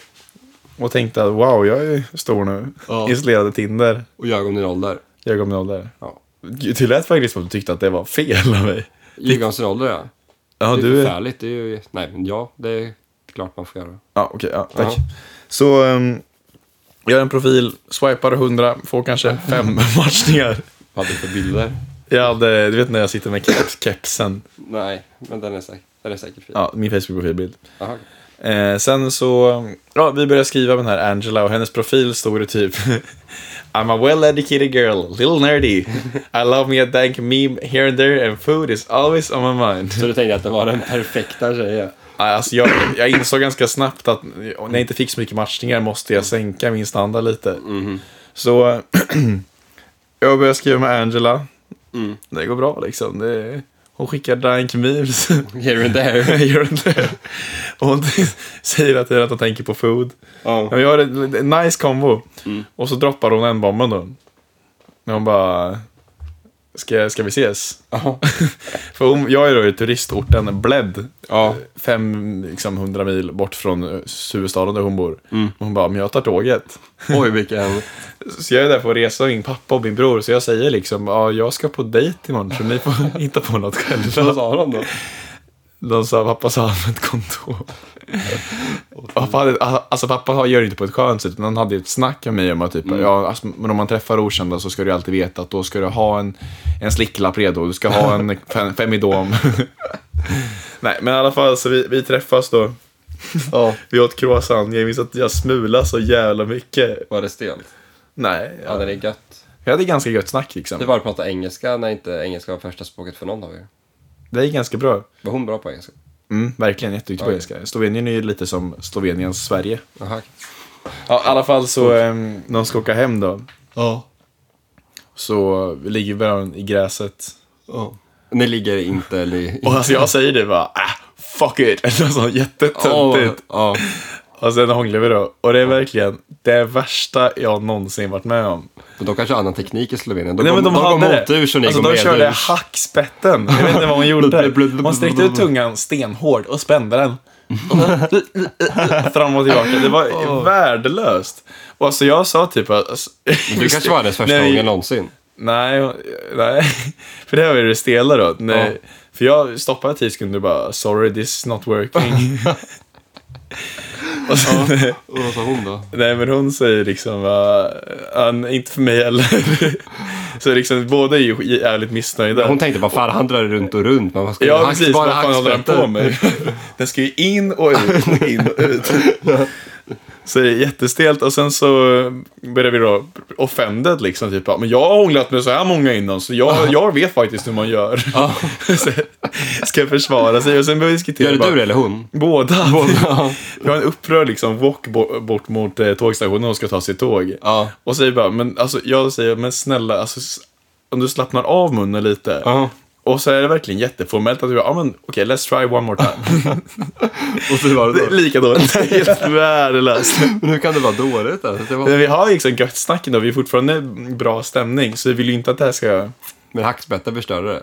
Speaker 4: och tänkte att wow, jag är stor nu.
Speaker 2: Ja.
Speaker 4: Installerade Tinder.
Speaker 2: och ljög om din ålder.
Speaker 4: Jag om där.
Speaker 2: Ja.
Speaker 4: Gud, Det lät faktiskt som att du tyckte att det var fel av mig.
Speaker 2: Ljuga om sin ålder ja.
Speaker 4: Ja,
Speaker 2: det är
Speaker 4: du är...
Speaker 2: förfärligt. Det är ju, nej, men ja, det är klart man får göra.
Speaker 4: Ja, okej. ja, tack.
Speaker 2: Ja.
Speaker 4: Så, um, gör en profil, swipar 100, får kanske fem matchningar.
Speaker 2: Vad hade du för bilder?
Speaker 4: Jag hade, du vet när jag sitter med keps, kepsen.
Speaker 2: Nej, men den är säkert, den är säkert fin.
Speaker 4: Ja, min Facebook-profilbild.
Speaker 2: Aha.
Speaker 4: Eh, sen så, ja, vi började skriva med den här Angela och hennes profil stod det typ I'm a well educated girl, little nerdy. I love me a dank meme here and there and food is always on my mind.
Speaker 2: Så du tänkte att det var den perfekta tjejen?
Speaker 4: Nej, Alltså jag, jag insåg ganska snabbt att när jag inte fick så mycket matchningar måste jag sänka min standard lite. Så jag började skriva med Angela. Det går bra liksom. Det, hon skickar dank memes.
Speaker 2: Here and there.
Speaker 4: Gör hon det? Och hon säger att hon tänker på food. Ja,
Speaker 2: Ja. Mm.
Speaker 4: men jag har en en nice combo. Och så droppar hon en bomben då. När hon bara... Ska, ska vi ses?
Speaker 2: Ja.
Speaker 4: För hon, jag är då i turistorten Bled.
Speaker 2: Ja.
Speaker 4: Fem, liksom hundra mil bort från eh, huvudstaden där hon bor.
Speaker 2: Mm.
Speaker 4: Och hon bara, men jag tar tåget.
Speaker 2: Oj, vilken...
Speaker 4: Så jag är där för att resa med min pappa och min bror. Så jag säger liksom, ja, jag ska på dejt imorgon så ni får hitta på något
Speaker 2: Vad
Speaker 4: själva.
Speaker 2: sa de då?
Speaker 4: De sa, pappa sa använd kondom. Pappa hade, alltså pappa gör det inte på ett skönt sätt, utan han hade ett snack med mig om att typ, ja, alltså, men om man träffar okända så ska du ju alltid veta att då ska du ha en, en slicklapp redo, du ska ha en fem, femidom. Nej, men i alla fall så vi, vi träffas då.
Speaker 2: Ja.
Speaker 4: Vi åt croissant, jag minns att jag smulade så jävla mycket.
Speaker 2: Var det stelt?
Speaker 4: Nej,
Speaker 2: Ja, det är gött.
Speaker 4: jag hade ganska gött snack
Speaker 2: Det
Speaker 4: liksom.
Speaker 2: var att prata engelska när inte engelska var första språket för någon av er.
Speaker 4: Det gick ganska bra.
Speaker 2: Var hon bra på engelska?
Speaker 4: Mm, verkligen jätteduktig på
Speaker 2: Oj.
Speaker 4: engelska. Slovenien är ju lite som Sloveniens Sverige.
Speaker 2: Aha.
Speaker 4: Ja, i alla fall så, um, när de ska åka hem då,
Speaker 2: Ja.
Speaker 4: så ligger vi i gräset.
Speaker 2: ja. Ni ligger inte... Ni...
Speaker 4: Och alltså jag säger det bara, äh, fuck it. Eller något sånt jättetöntigt.
Speaker 2: Ja.
Speaker 4: Och sen hånglar vi då. Och det är verkligen det värsta jag någonsin varit med om.
Speaker 2: Men de kanske har annan teknik i Slovenien. De går, de går motur så ni
Speaker 4: alltså,
Speaker 2: går
Speaker 4: de
Speaker 2: medurs.
Speaker 4: körde hackspetten. Jag vet inte vad hon gjorde.
Speaker 2: Blub, blub, blub,
Speaker 4: Hon sträckte
Speaker 2: blub,
Speaker 4: ut
Speaker 2: blub.
Speaker 4: tungan stenhårt och spände den. Fram och tillbaka. Det var värdelöst. Och alltså jag sa typ att... Alltså,
Speaker 2: Du kanske var hennes första
Speaker 4: Nej,
Speaker 2: gången någonsin.
Speaker 4: Nej, nej. För det var ju det stela då. Nej.
Speaker 2: Ja.
Speaker 4: För jag stoppade tio sekunder och bara “Sorry, this is not working”. och sen,
Speaker 2: Och vad sa hon då?
Speaker 4: Nej, men hon säger liksom va, "Han, “Inte för mig heller”. så liksom, båda är ju jävligt missnöjda.
Speaker 2: Hon tänkte bara, fan han drar runt och runt. Men vad ska
Speaker 4: Ja,
Speaker 2: hack-
Speaker 4: precis. Vad fan håller den
Speaker 2: hackspettar.
Speaker 4: på med? Den ska ju in och ut och in och ut. Så det är jättestelt. Och sen så börjar vi då offended liksom. Typ, ja, men jag har hånglat med så här många innan så jag, jag vet faktiskt hur man gör. Så ska försvara sig och sen börjar vi diskutera.
Speaker 2: Gör det
Speaker 4: bara-
Speaker 2: du det, eller hon?
Speaker 4: Båda.
Speaker 2: Båda.
Speaker 4: Vi har en upprörd liksom walk bo- bort mot eh, tågstationen och ska ta sitt tåg.
Speaker 2: Ja.
Speaker 4: Och säger bara, men alltså jag säger, men snälla, alltså, s- om du slappnar av munnen lite.
Speaker 2: Ja.
Speaker 4: Och så är det verkligen jätteformellt att du bara, ja men okej, let's try one more time.
Speaker 2: Och så var
Speaker 4: det är lika dåligt, Det är helt värdelöst.
Speaker 2: Men hur kan det vara dåligt ens? Det var...
Speaker 4: Men vi har liksom gött snack ändå, vi är fortfarande bra stämning, så vi vill ju inte att det här ska...
Speaker 2: Men hackspettar förstörde det.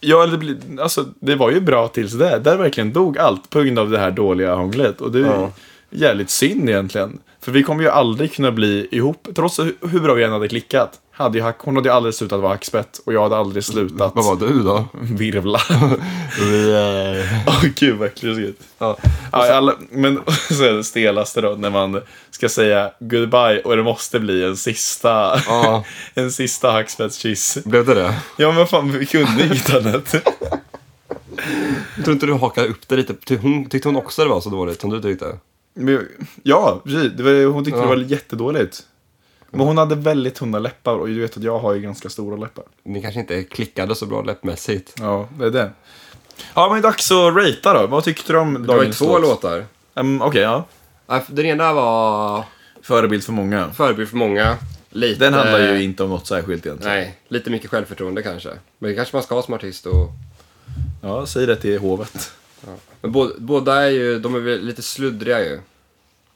Speaker 4: Ja, eller det, blir- alltså, det var ju bra tills det. Där verkligen dog allt på grund av det här dåliga hånglet. Och det är ju
Speaker 2: Ja.
Speaker 4: jävligt synd egentligen. För vi kommer ju aldrig kunna bli ihop. Trots hu- hur bra vi än hade klickat. Hade ju hack, hon hade ju aldrig slutat vara hackspett och jag hade aldrig slutat
Speaker 2: Vad var du då?
Speaker 4: virvla.
Speaker 2: Vi,
Speaker 4: Åh gud vad äckligt.
Speaker 2: ja.
Speaker 4: eh, Ja, alla, men så är det stelaste då när man ska säga goodbye och det måste bli en sista,
Speaker 2: Ja.
Speaker 4: en sista hackspettskyss.
Speaker 2: Blev det det?
Speaker 4: Ja men fan vi kunde inget annat.
Speaker 2: Tror inte du hakade upp det lite? Ty- Hon, tyckte hon också det var så dåligt som du tyckte?
Speaker 4: Men, ja, precis. Det var, hon tyckte det var jättedåligt. Men hon hade väldigt tunna läppar och du vet att jag har ju ganska stora läppar.
Speaker 2: Ni kanske inte klickade så bra läppmässigt.
Speaker 4: Ja, det är det. Ja, men det är dags att ratea då. Vad tyckte du om
Speaker 2: Det var ju
Speaker 4: dagens
Speaker 2: två
Speaker 4: låt?
Speaker 2: låtar.
Speaker 4: Ehm, Okej, ja.
Speaker 2: Ja, Den ena var
Speaker 4: Förebild för många.
Speaker 2: Förebild för många. Lite,
Speaker 4: Den handlar
Speaker 2: Eh.
Speaker 4: ju inte om något särskilt egentligen.
Speaker 2: Nej, lite mycket självförtroende kanske. Men det kanske man ska ha som artist och...
Speaker 4: Ja, säg det till hovet.
Speaker 2: Men bå- båda är ju, de är väl lite sluddriga ju.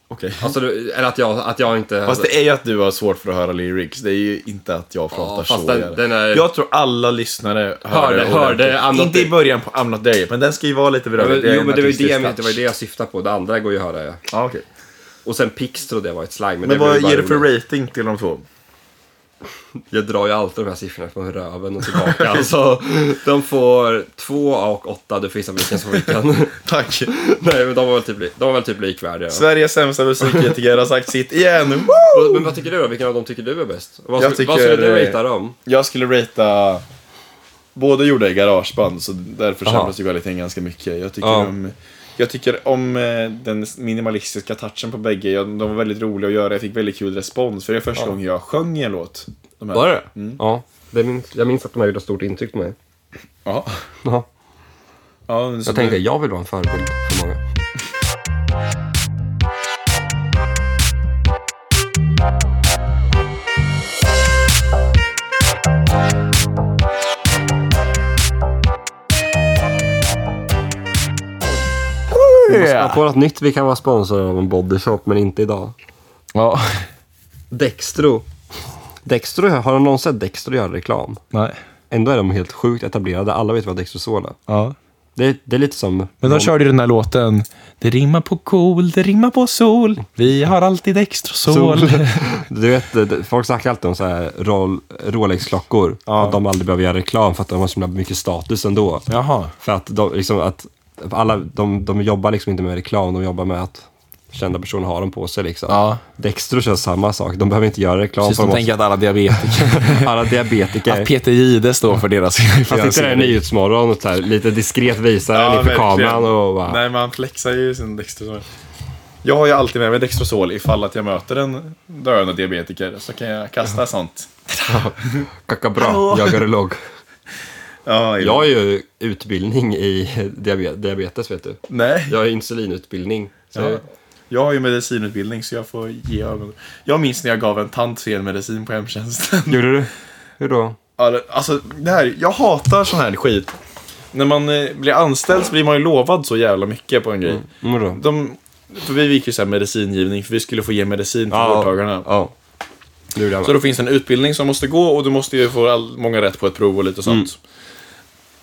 Speaker 4: Okej.
Speaker 2: Alltså, du- eller att jag, att jag inte...
Speaker 4: Fast det är ju att du har svårt för att höra lyrics. Det är ju inte att jag pratar
Speaker 2: fast
Speaker 4: så.
Speaker 2: den-
Speaker 4: jävla-
Speaker 2: den är-
Speaker 4: Jag tror alla lyssnare
Speaker 2: Hörde-
Speaker 4: hörde,
Speaker 2: hörde
Speaker 4: ordentligt.
Speaker 2: I'm not
Speaker 4: Inte i
Speaker 2: dead.
Speaker 4: början på I'm not there, men den ska ju vara lite
Speaker 2: Ja, men-
Speaker 4: berörd.
Speaker 2: jo, men det var ju det, jag- det, var ju det jag syftade på. Det andra går ju att höra. Ja.
Speaker 4: Ja, okej.
Speaker 2: Och sen Pix trodde jag var ett slang. Men,
Speaker 4: Men
Speaker 2: det var
Speaker 4: vad
Speaker 2: ju bara
Speaker 4: ger du för
Speaker 2: roligt.
Speaker 4: rating till de två?
Speaker 2: Jag drar ju alltid de här siffrorna från röven och tillbaka. alltså, de får två och åtta. Du får gissa vilken som vilken.
Speaker 4: Tack.
Speaker 2: Nej, men de var väl typ, li- de var väl typ likvärdiga.
Speaker 4: Sveriges sämsta musikkritiker har sagt sitt igen. Woo!
Speaker 2: Vad- Men vad tycker du då? Vilken av dem tycker du är bäst? Vad,
Speaker 4: Jag
Speaker 2: skulle- vad
Speaker 4: tycker-
Speaker 2: skulle du ratea dem?
Speaker 4: Jag skulle ratea... Båda gjorde i garageband, så där försämras ju kvaliteten ganska mycket. Jag tycker,
Speaker 2: Ja.
Speaker 4: om, jag tycker om eh, den minimalistiska touchen på bägge. Jag, de var väldigt roliga att göra, jag fick väldigt kul respons. För det är första gången jag sjöng i en låt. De här.
Speaker 2: Var det mm. Ja. Det minns, jag minns att de här gjorde stort intryck på mig.
Speaker 4: Ja.
Speaker 2: Ja.
Speaker 4: ja men så
Speaker 2: Jag tänkte, jag vill vara en förebild för många. Vi måste komma på något nytt vi kan vara sponsrade av en bodyshop, men inte idag.
Speaker 4: Ja.
Speaker 2: Dextro. Dextro, har någon någon sett Dextro göra reklam?
Speaker 4: Nej.
Speaker 2: Ändå är de helt sjukt etablerade. Alla vet vad Dextrosol är.
Speaker 4: Ja.
Speaker 2: Det, det är lite som...
Speaker 4: Men de körde ju den här låten. Det rimmar på cool, det rimmar på sol. Vi har alltid extra sol.
Speaker 2: Du vet, det- det- folk snackar alltid om så här Roll- Rolex-klockor.
Speaker 4: Ja.
Speaker 2: Att de aldrig behöver göra reklam för att de har så himla mycket status ändå.
Speaker 4: Jaha.
Speaker 2: För att de, liksom, att alla, de, de jobbar liksom inte med reklam, de jobbar med att kända personer har dem på sig. Liksom.
Speaker 4: Ja.
Speaker 2: Dextro kör samma sak. De behöver inte göra reklam
Speaker 4: Precis,
Speaker 2: för
Speaker 4: de
Speaker 2: dem.
Speaker 4: tänker att alla diabetiker...
Speaker 2: Alla diabetiker.
Speaker 4: Att Peter Jihde står för deras...
Speaker 2: Fast inte det är Nyhetsmorgon och så här, lite diskret visar den inför kameran och bara,
Speaker 4: Nej, man flexar ju sin Dextrosol. Jag har ju alltid med mig Dextrosol ifall att jag möter en döende diabetiker. Så kan jag kasta sånt.
Speaker 2: kacka bra, jag är urolog.
Speaker 4: Ja,
Speaker 2: Jag har ju utbildning i diabe- diabetes vet du.
Speaker 4: Nej.
Speaker 2: Jag har insulinutbildning. Så
Speaker 4: Ja. Jag har ju medicinutbildning så jag får ge ögon. Jag minns när jag gav en tant fel medicin på hemtjänsten.
Speaker 2: Gjorde du? Hur då?
Speaker 4: Alla- Alltså, det här, jag hatar sån här skit. När man eh, blir anställd så blir man ju lovad så jävla mycket på en grej.
Speaker 2: Mm, vadå?
Speaker 4: De, för vi gick ju så här medicingivning, för vi skulle få ge medicin till vårdtagarna.
Speaker 2: Ja. Nu gjorde jag
Speaker 4: Så
Speaker 2: med.
Speaker 4: då finns det en utbildning som måste gå och du måste ju få all, många rätt på ett prov och lite sånt.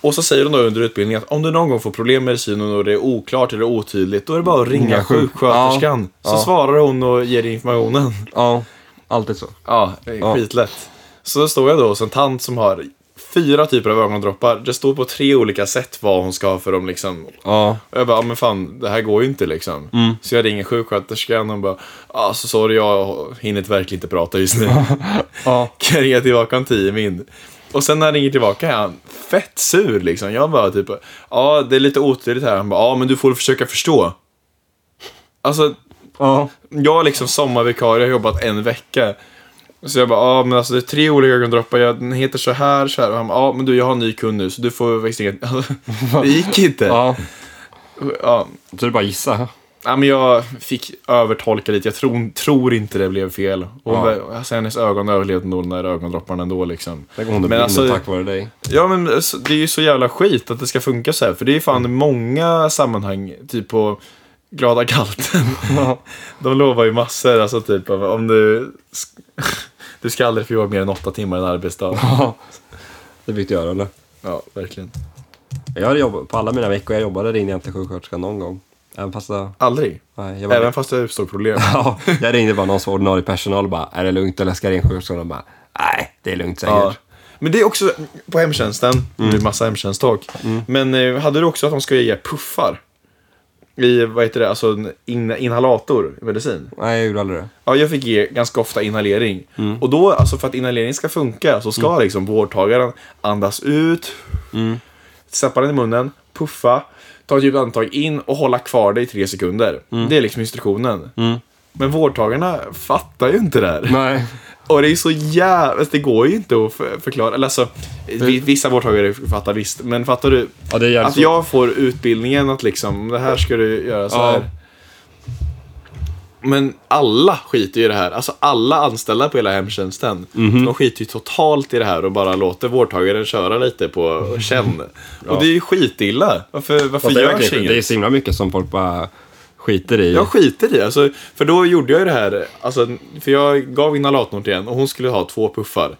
Speaker 4: Och så säger de då under utbildningen att om du någon gång får problem med medicinen och det är oklart eller otydligt, då är det bara att ringa
Speaker 2: Ringa sjuk-
Speaker 4: sjuksköterskan.
Speaker 2: Ja.
Speaker 4: Så
Speaker 2: Ja.
Speaker 4: svarar hon och ger informationen.
Speaker 2: Ja, alltid så.
Speaker 4: Ja, det är
Speaker 2: Ja.
Speaker 4: skitlätt. Så står jag då hos en tant som har fyra typer av ögondroppar. Det står på tre olika sätt vad hon ska ha för dem liksom.
Speaker 2: Ja.
Speaker 4: Och jag bara, ja, men fan, det här går ju inte liksom.
Speaker 2: Mm.
Speaker 4: Så jag ringer sjuksköterskan och bara, ah, så sorry, jag hinner verkligen inte prata just nu.
Speaker 2: Ja.
Speaker 4: Kan jag ringa tillbaka om tio min? Och sen när han ringer tillbaka är han fett sur liksom. Jag bara typ, ja det är lite otydligt här. Han bara, ja men du får försöka förstå. Alltså,
Speaker 2: Ja.
Speaker 4: jag är liksom sommarvikarie, jag har jobbat en vecka. Så jag bara, ja men alltså det är tre olika ögondroppar, jag, den heter så här, så här. Och han bara, ja men du jag har en ny kund nu så du får faktiskt inget. det gick inte.
Speaker 2: ja.
Speaker 4: Ja.
Speaker 2: Så det är bara att gissa.
Speaker 4: Ja, men jag fick övertolka lite. Jag tror, tror inte det blev fel. Och
Speaker 2: Ja.
Speaker 4: alltså, hennes ögon överlevde nog den där ögondropparna ändå. Liksom.
Speaker 2: Tänk om hon
Speaker 4: Men
Speaker 2: är
Speaker 4: alltså-
Speaker 2: alltså, tack vare dig.
Speaker 4: Ja, men alltså, det är ju så jävla skit att det ska funka så här. För det är
Speaker 2: Mm.
Speaker 4: fan många sammanhang, typ på Glada galten. De lovar ju massor. Alltså typ av- om du... Du ska aldrig få jobba mer än åtta timmar en arbetsdag.
Speaker 2: Ja. Det fick du göra eller?
Speaker 4: Ja, verkligen.
Speaker 2: Jag hade jobbat, på alla mina veckor jag jobbade ringde jag inte sjuksköterskan någon gång. Även fast jag...
Speaker 4: Aldrig.
Speaker 2: Nej, jag var
Speaker 4: Även fast det uppstod problem.
Speaker 2: Ja, jag ringde bara någon som ordinarie personal och bara, är det lugnt eller ska jag ringa sjuksköterskan? De bara, nej, det är lugnt säkert.
Speaker 4: Ja. Men det är också på hemtjänsten, nu är det massa hemtjänsttak. Men eh, hade du också att de ska ge puffar? I, vad heter det, alltså en in, inhalator, medicin.
Speaker 2: Nej, jag gjorde aldrig det.
Speaker 4: Ja, jag fick ge ganska ofta inhalering. Och då, alltså för att inhalering ska funka så ska liksom vårdtagaren andas ut, släppa den i munnen, puffa, ta ett djupt andetag in och hålla kvar det i tre sekunder. Det är liksom instruktionen. Men vårdtagarna fattar ju inte det här.
Speaker 2: Nej.
Speaker 4: Och det är ju så jävla... Det går ju inte att för- förklara. Eller alltså, vi- vissa vårdtagare fattar visst. Men fattar du?
Speaker 2: Ja, det är jävligt
Speaker 4: att Alltså, jag får utbildningen att liksom, det här ska du göra så
Speaker 2: Ja.
Speaker 4: här. Men alla skiter ju i det här. Alltså alla anställda på hela hemtjänsten.
Speaker 2: Mhm.
Speaker 4: De skiter ju totalt i det här och bara låter vårdtagaren köra lite på känn. Och det är ju skitilla. Varför, varför
Speaker 2: Fast det, är
Speaker 4: görs
Speaker 2: verkligen-
Speaker 4: inget?
Speaker 2: det är så himla mycket som folk bara skiter i.
Speaker 4: Jag skiter i alltså, För då gjorde jag ju det här. Alltså, för jag gav inhalatorn till en och hon skulle ha två puffar.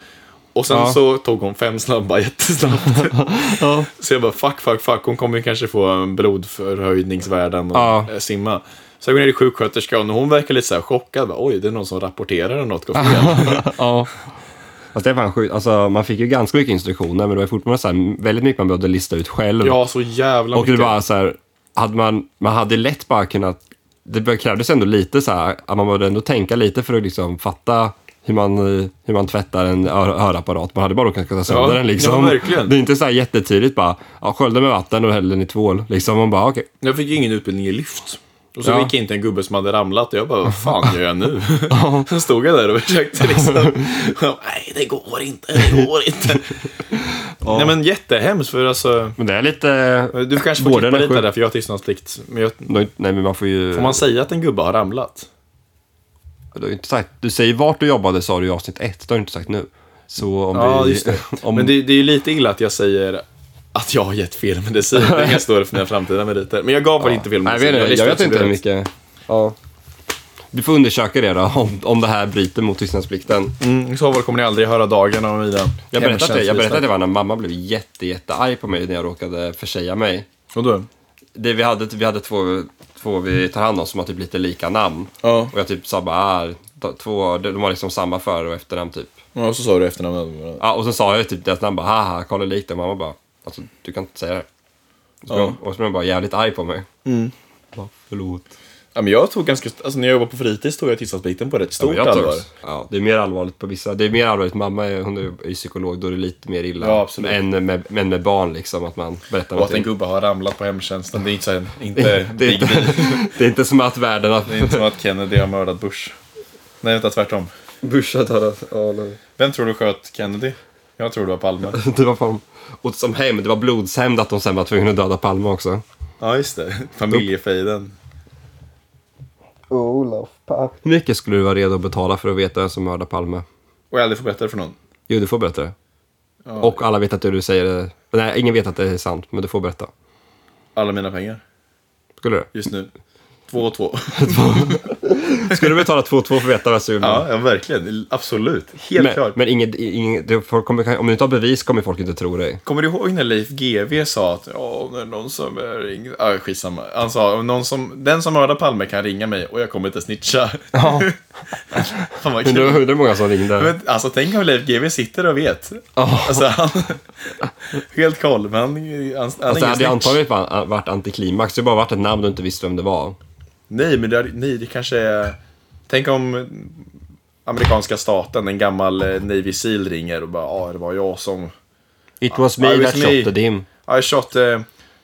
Speaker 4: Och sen
Speaker 2: Ja.
Speaker 4: så tog hon fem snabba jättesnabbt.
Speaker 2: Ja.
Speaker 4: Så jag bara fuck, fuck, fuck. Hon kommer ju kanske få en blodförhöjningsvärden och
Speaker 2: Ja.
Speaker 4: eh, simma. Så jag går ner till sjuksköterskan och hon verkar lite så här chockad. Bara, Oj, det är någon som rapporterar om något går fel.
Speaker 2: Ja. Fast det är fan sjukt. Alltså, man fick ju ganska mycket instruktioner, men det var fortfarande så här, väldigt mycket man behövde lista ut själv.
Speaker 4: Ja, så jävla
Speaker 2: och det var så här, hade man, man hade lätt bara kunnat... Det be- krävdes ändå lite så här, att man behövde ändå tänka lite för att liksom fatta hur man, eh, hur man tvättar en ö- hörapparat. Man hade bara råkat ta sönder
Speaker 4: Ja,
Speaker 2: den liksom.
Speaker 4: ja, verkligen.
Speaker 2: Det är inte så här jättetydligt bara, ja, skölja med vatten och häll den i tvål. Liksom, man bara, okej.
Speaker 4: Jag fick ju ingen utbildning i lyft. Och så
Speaker 2: Ja.
Speaker 4: gick jag in till en gubbe som hade ramlat och jag bara, vad fan gör jag nu? Sen stod jag där och försökte liksom. Nej, det går inte, det går inte. Nej men jättehemskt för alltså.
Speaker 2: Men det är lite...
Speaker 4: Du kanske får
Speaker 2: Vården
Speaker 4: klippa
Speaker 2: är
Speaker 4: lite
Speaker 2: sjuk.
Speaker 4: där för jag har tystnadsplikt. Men jag,
Speaker 2: Nej, men man får ju...
Speaker 4: får man säga att en gubbe har ramlat?
Speaker 2: Du har ju inte sagt, du säger vart du jobbade sa du i avsnitt ett, det har du inte sagt nu. Så om
Speaker 4: Ja,
Speaker 2: vi,
Speaker 4: just det.
Speaker 2: Om,
Speaker 4: Men det, det är ju lite illa att jag säger att jag har gett fel medicin. Det kan stå för mina framtida meriter. Men jag gav väl inte fel
Speaker 2: nej, jag
Speaker 4: medicin.
Speaker 2: vet, inte, jag vet
Speaker 4: listade
Speaker 2: inte
Speaker 4: det.
Speaker 2: hur mycket. Ja. Du får undersöka det då, om, om det här bryter mot tystnadsplikten.
Speaker 4: Mm, I så fall kommer ni aldrig höra dagen om mina
Speaker 2: Jag berättade, att det- jag berättade
Speaker 4: hemtjänstlista.
Speaker 2: att det var när mamma blev jätte, jättearg på mig när jag råkade försäga mig.
Speaker 4: Och då?
Speaker 2: Det, vi, hade, vi hade två, två vi tar hand om som har typ lite lika namn.
Speaker 4: Ja.
Speaker 2: Och jag typ sa bara, ah, de- två, de har liksom samma för och efternamn typ.
Speaker 4: Och så sa du efternamnet.
Speaker 2: Ja, och så sa jag typ deras namn bara, haha, kolla likt och mamma bara, alltså du kan inte säga det. Så
Speaker 4: Ja.
Speaker 2: Och så blev hon bara jävligt arg på mig. Mm. Bara, förlåt.
Speaker 4: Ja, men jag tog ganska, alltså när jag jobbade på fritids tog jag tystnadsbiten på rätt
Speaker 2: Ja,
Speaker 4: stort
Speaker 2: men jag tar-
Speaker 4: allvar.
Speaker 2: Ja, det är mer allvarligt på vissa, det är mer allvarligt, mamma är, hon är ju psykolog, då är det lite mer illa.
Speaker 4: Ja, absolut.
Speaker 2: Än med, men med barn liksom, att man berättar
Speaker 4: Och att en
Speaker 2: någonting.
Speaker 4: gubbe har ramlat på hemtjänsten, det är inte så här, inte
Speaker 2: Det är,
Speaker 4: big deal.
Speaker 2: inte, det är inte som att världen har...
Speaker 4: Det är inte som att Kennedy har mördat Bush. Nej, vänta, tvärtom.
Speaker 2: Bushat har... Ja, nej.
Speaker 4: Vem tror du sköt Kennedy? Jag tror det var Palme.
Speaker 2: Det var fan... Och som hämnd, det var blodshämnd att de sen var tvungna att döda Palme också.
Speaker 4: Ja, just det. Familjefejden.
Speaker 2: Hur mycket skulle du vara redo att betala för att veta vem som mördade Palme?
Speaker 4: Och jag aldrig får berätta det för någon.
Speaker 2: Jo, du får berätta det. Och alla vet att du säger det. Nej, ingen vet att det är sant, men du får berätta.
Speaker 4: Alla mina pengar,
Speaker 2: Skulle du?
Speaker 4: just nu. Två och två.
Speaker 2: Skulle du betala 2-2 för att veta vad som
Speaker 4: Ja, ja verkligen. Absolut. Helt
Speaker 2: Men,
Speaker 4: klart.
Speaker 2: men inget, inget, det, folk kommer, om du inte har bevis kommer folk inte tro dig.
Speaker 4: Kommer du ihåg när Leif GW sa att ja, om det är någon som är ring... Ah, skitsamma. Han sa om någon som, den som mördar Palme kan ringa mig och jag kommer inte snitcha.
Speaker 2: Ja.
Speaker 4: Fan vad
Speaker 2: Men det var
Speaker 4: kul.
Speaker 2: hur många som ringde.
Speaker 4: Men, alltså tänk om Leif GW sitter och vet.
Speaker 2: Ja.
Speaker 4: Alltså han... Helt koll, men han, han, han är
Speaker 2: Alltså, det
Speaker 4: ingen
Speaker 2: hade
Speaker 4: snitch.
Speaker 2: antagligen bara varit antiklimax. Det hade bara varit ett namn du inte visste vem det var.
Speaker 4: Nej, men det, hade- nej, det kanske är... Tänk om amerikanska staten, en gammal eh, Navy Seal ringer och bara ja, ah, det var jag som...
Speaker 2: It was
Speaker 4: Ja,
Speaker 2: me
Speaker 4: it was
Speaker 2: that shot
Speaker 4: me.
Speaker 2: the dim.
Speaker 4: I shot... Eh,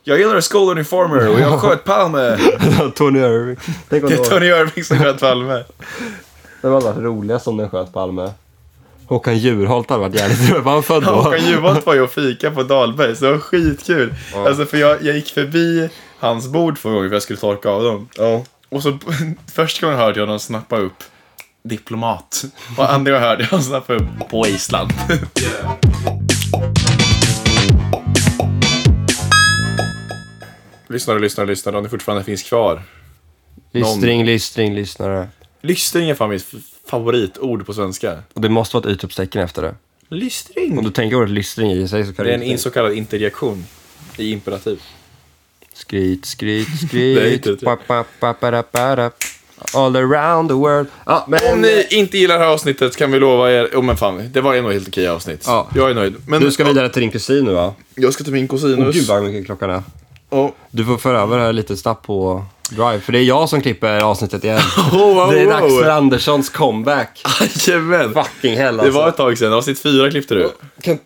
Speaker 4: jag gillar School Uniformer och jag sköt Palme.
Speaker 2: Tony Irving. Tänk om
Speaker 4: Det
Speaker 2: det
Speaker 4: är
Speaker 2: var,
Speaker 4: Tony Irving som sköt Palme.
Speaker 2: det var det roligaste om den sköt Palme. Håkan Juholt hade varit jävligt roligt. Var han född då?
Speaker 4: Håkan Juholt var ju och fika på Dahlbergs, det var skitkul. Alltså för jag, jag gick förbi hans bord två gånger för jag skulle torka av dem. Och så första gången hörde jag honom snappa upp diplomat. Och andra gången hörde jag honom snappa upp på Island. Lyssnare, lyssnare, lyssnare, om ni fortfarande finns kvar.
Speaker 2: Lystring, lystring, lyssnare.
Speaker 4: Lystring är fan mitt f- favoritord på svenska.
Speaker 2: Och det måste vara ett utropstecken efter det. Om
Speaker 4: Lystring?
Speaker 2: du tänker ordet lystring i sig så kan
Speaker 4: Det är
Speaker 2: du
Speaker 4: en in- så kallad interjektion i imperativ.
Speaker 2: Skryt, skryt,
Speaker 4: Nej, inte
Speaker 2: skryt.
Speaker 4: riktigt.
Speaker 2: pa, pa, pa, pa, da, pa, da. All around the world. Ja, men...
Speaker 4: Om ni inte gillar det här avsnittet kan vi lova er... Jo men fan, det var ändå helt okej avsnitt.
Speaker 2: Ja.
Speaker 4: Jag är nöjd. Men
Speaker 2: eh, Du ska vidare till din kusin nu va?
Speaker 4: Jag ska till min
Speaker 2: Åh gud
Speaker 4: kusinus.
Speaker 2: vad mycket klockan är.
Speaker 4: och...
Speaker 2: Du får föra över det här lite snabbt på Drive, för det är jag som klipper avsnittet igen.
Speaker 4: oh, oh,
Speaker 2: Det är dags
Speaker 4: oh.
Speaker 2: för Anderssons comeback.
Speaker 4: Jajamän!
Speaker 2: Fucking hell
Speaker 4: Det
Speaker 2: alltså.
Speaker 4: var ett tag sedan, avsnitt fyra klippte du.
Speaker 2: Kan,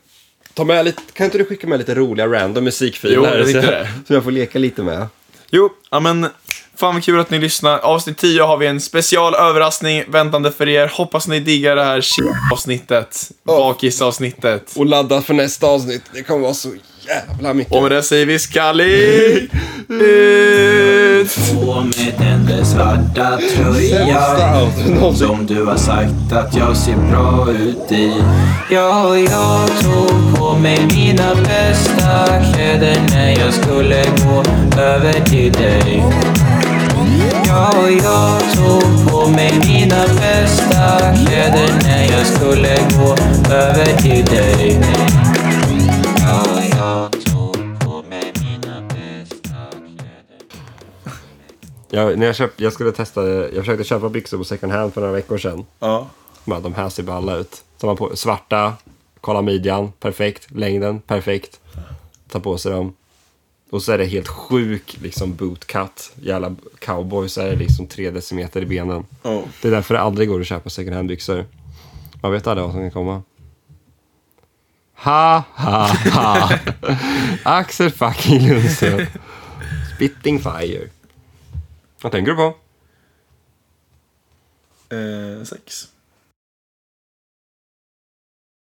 Speaker 2: ta med lite, kan inte du skicka med lite roliga random musikfiler?
Speaker 4: Jo, jag
Speaker 2: så,
Speaker 4: tänkte
Speaker 2: jag,
Speaker 4: det.
Speaker 2: så jag får leka lite med.
Speaker 4: Jo, ja men Fan vad kul att ni lyssnar. Avsnitt 10 har vi en specialöverraskning väntande för er. Hoppas ni diggar det här shit-avsnittet. Bakisavsnittet.
Speaker 2: Och ladda för nästa avsnitt. Det kommer vara så jävla mycket.
Speaker 4: Och med det säger vi skallig ut!
Speaker 5: På med den där svarta tröjan Som du har sagt att jag ser bra ut i Ja, jag tog på mig mina bästa kläder När jag skulle gå över till dig Ja, jag tog på mig mina bästa kläder När jag skulle gå över till dig Ja, jag tog på mig mina bästa kläder
Speaker 2: Jag, när jag, köpt, jag, skulle testa, jag försökte köpa byxor på second hand för några veckor sedan.
Speaker 4: Ja.
Speaker 2: Men de här ser balla ut. Tar man på, svarta, kolla midjan, perfekt. Längden, perfekt. Tar på sig dem. Och så är det helt sjuk liksom bootcut. Jävla cowboys är det liksom tre decimeter i benen.
Speaker 4: Oh.
Speaker 2: Det är därför det aldrig går att köpa second hand byxor. Man vet aldrig vad som kan komma. Ha, ha, ha. Axel fucking Lundström. Spitting fire. Vad tänker du på?
Speaker 4: Eh, sex.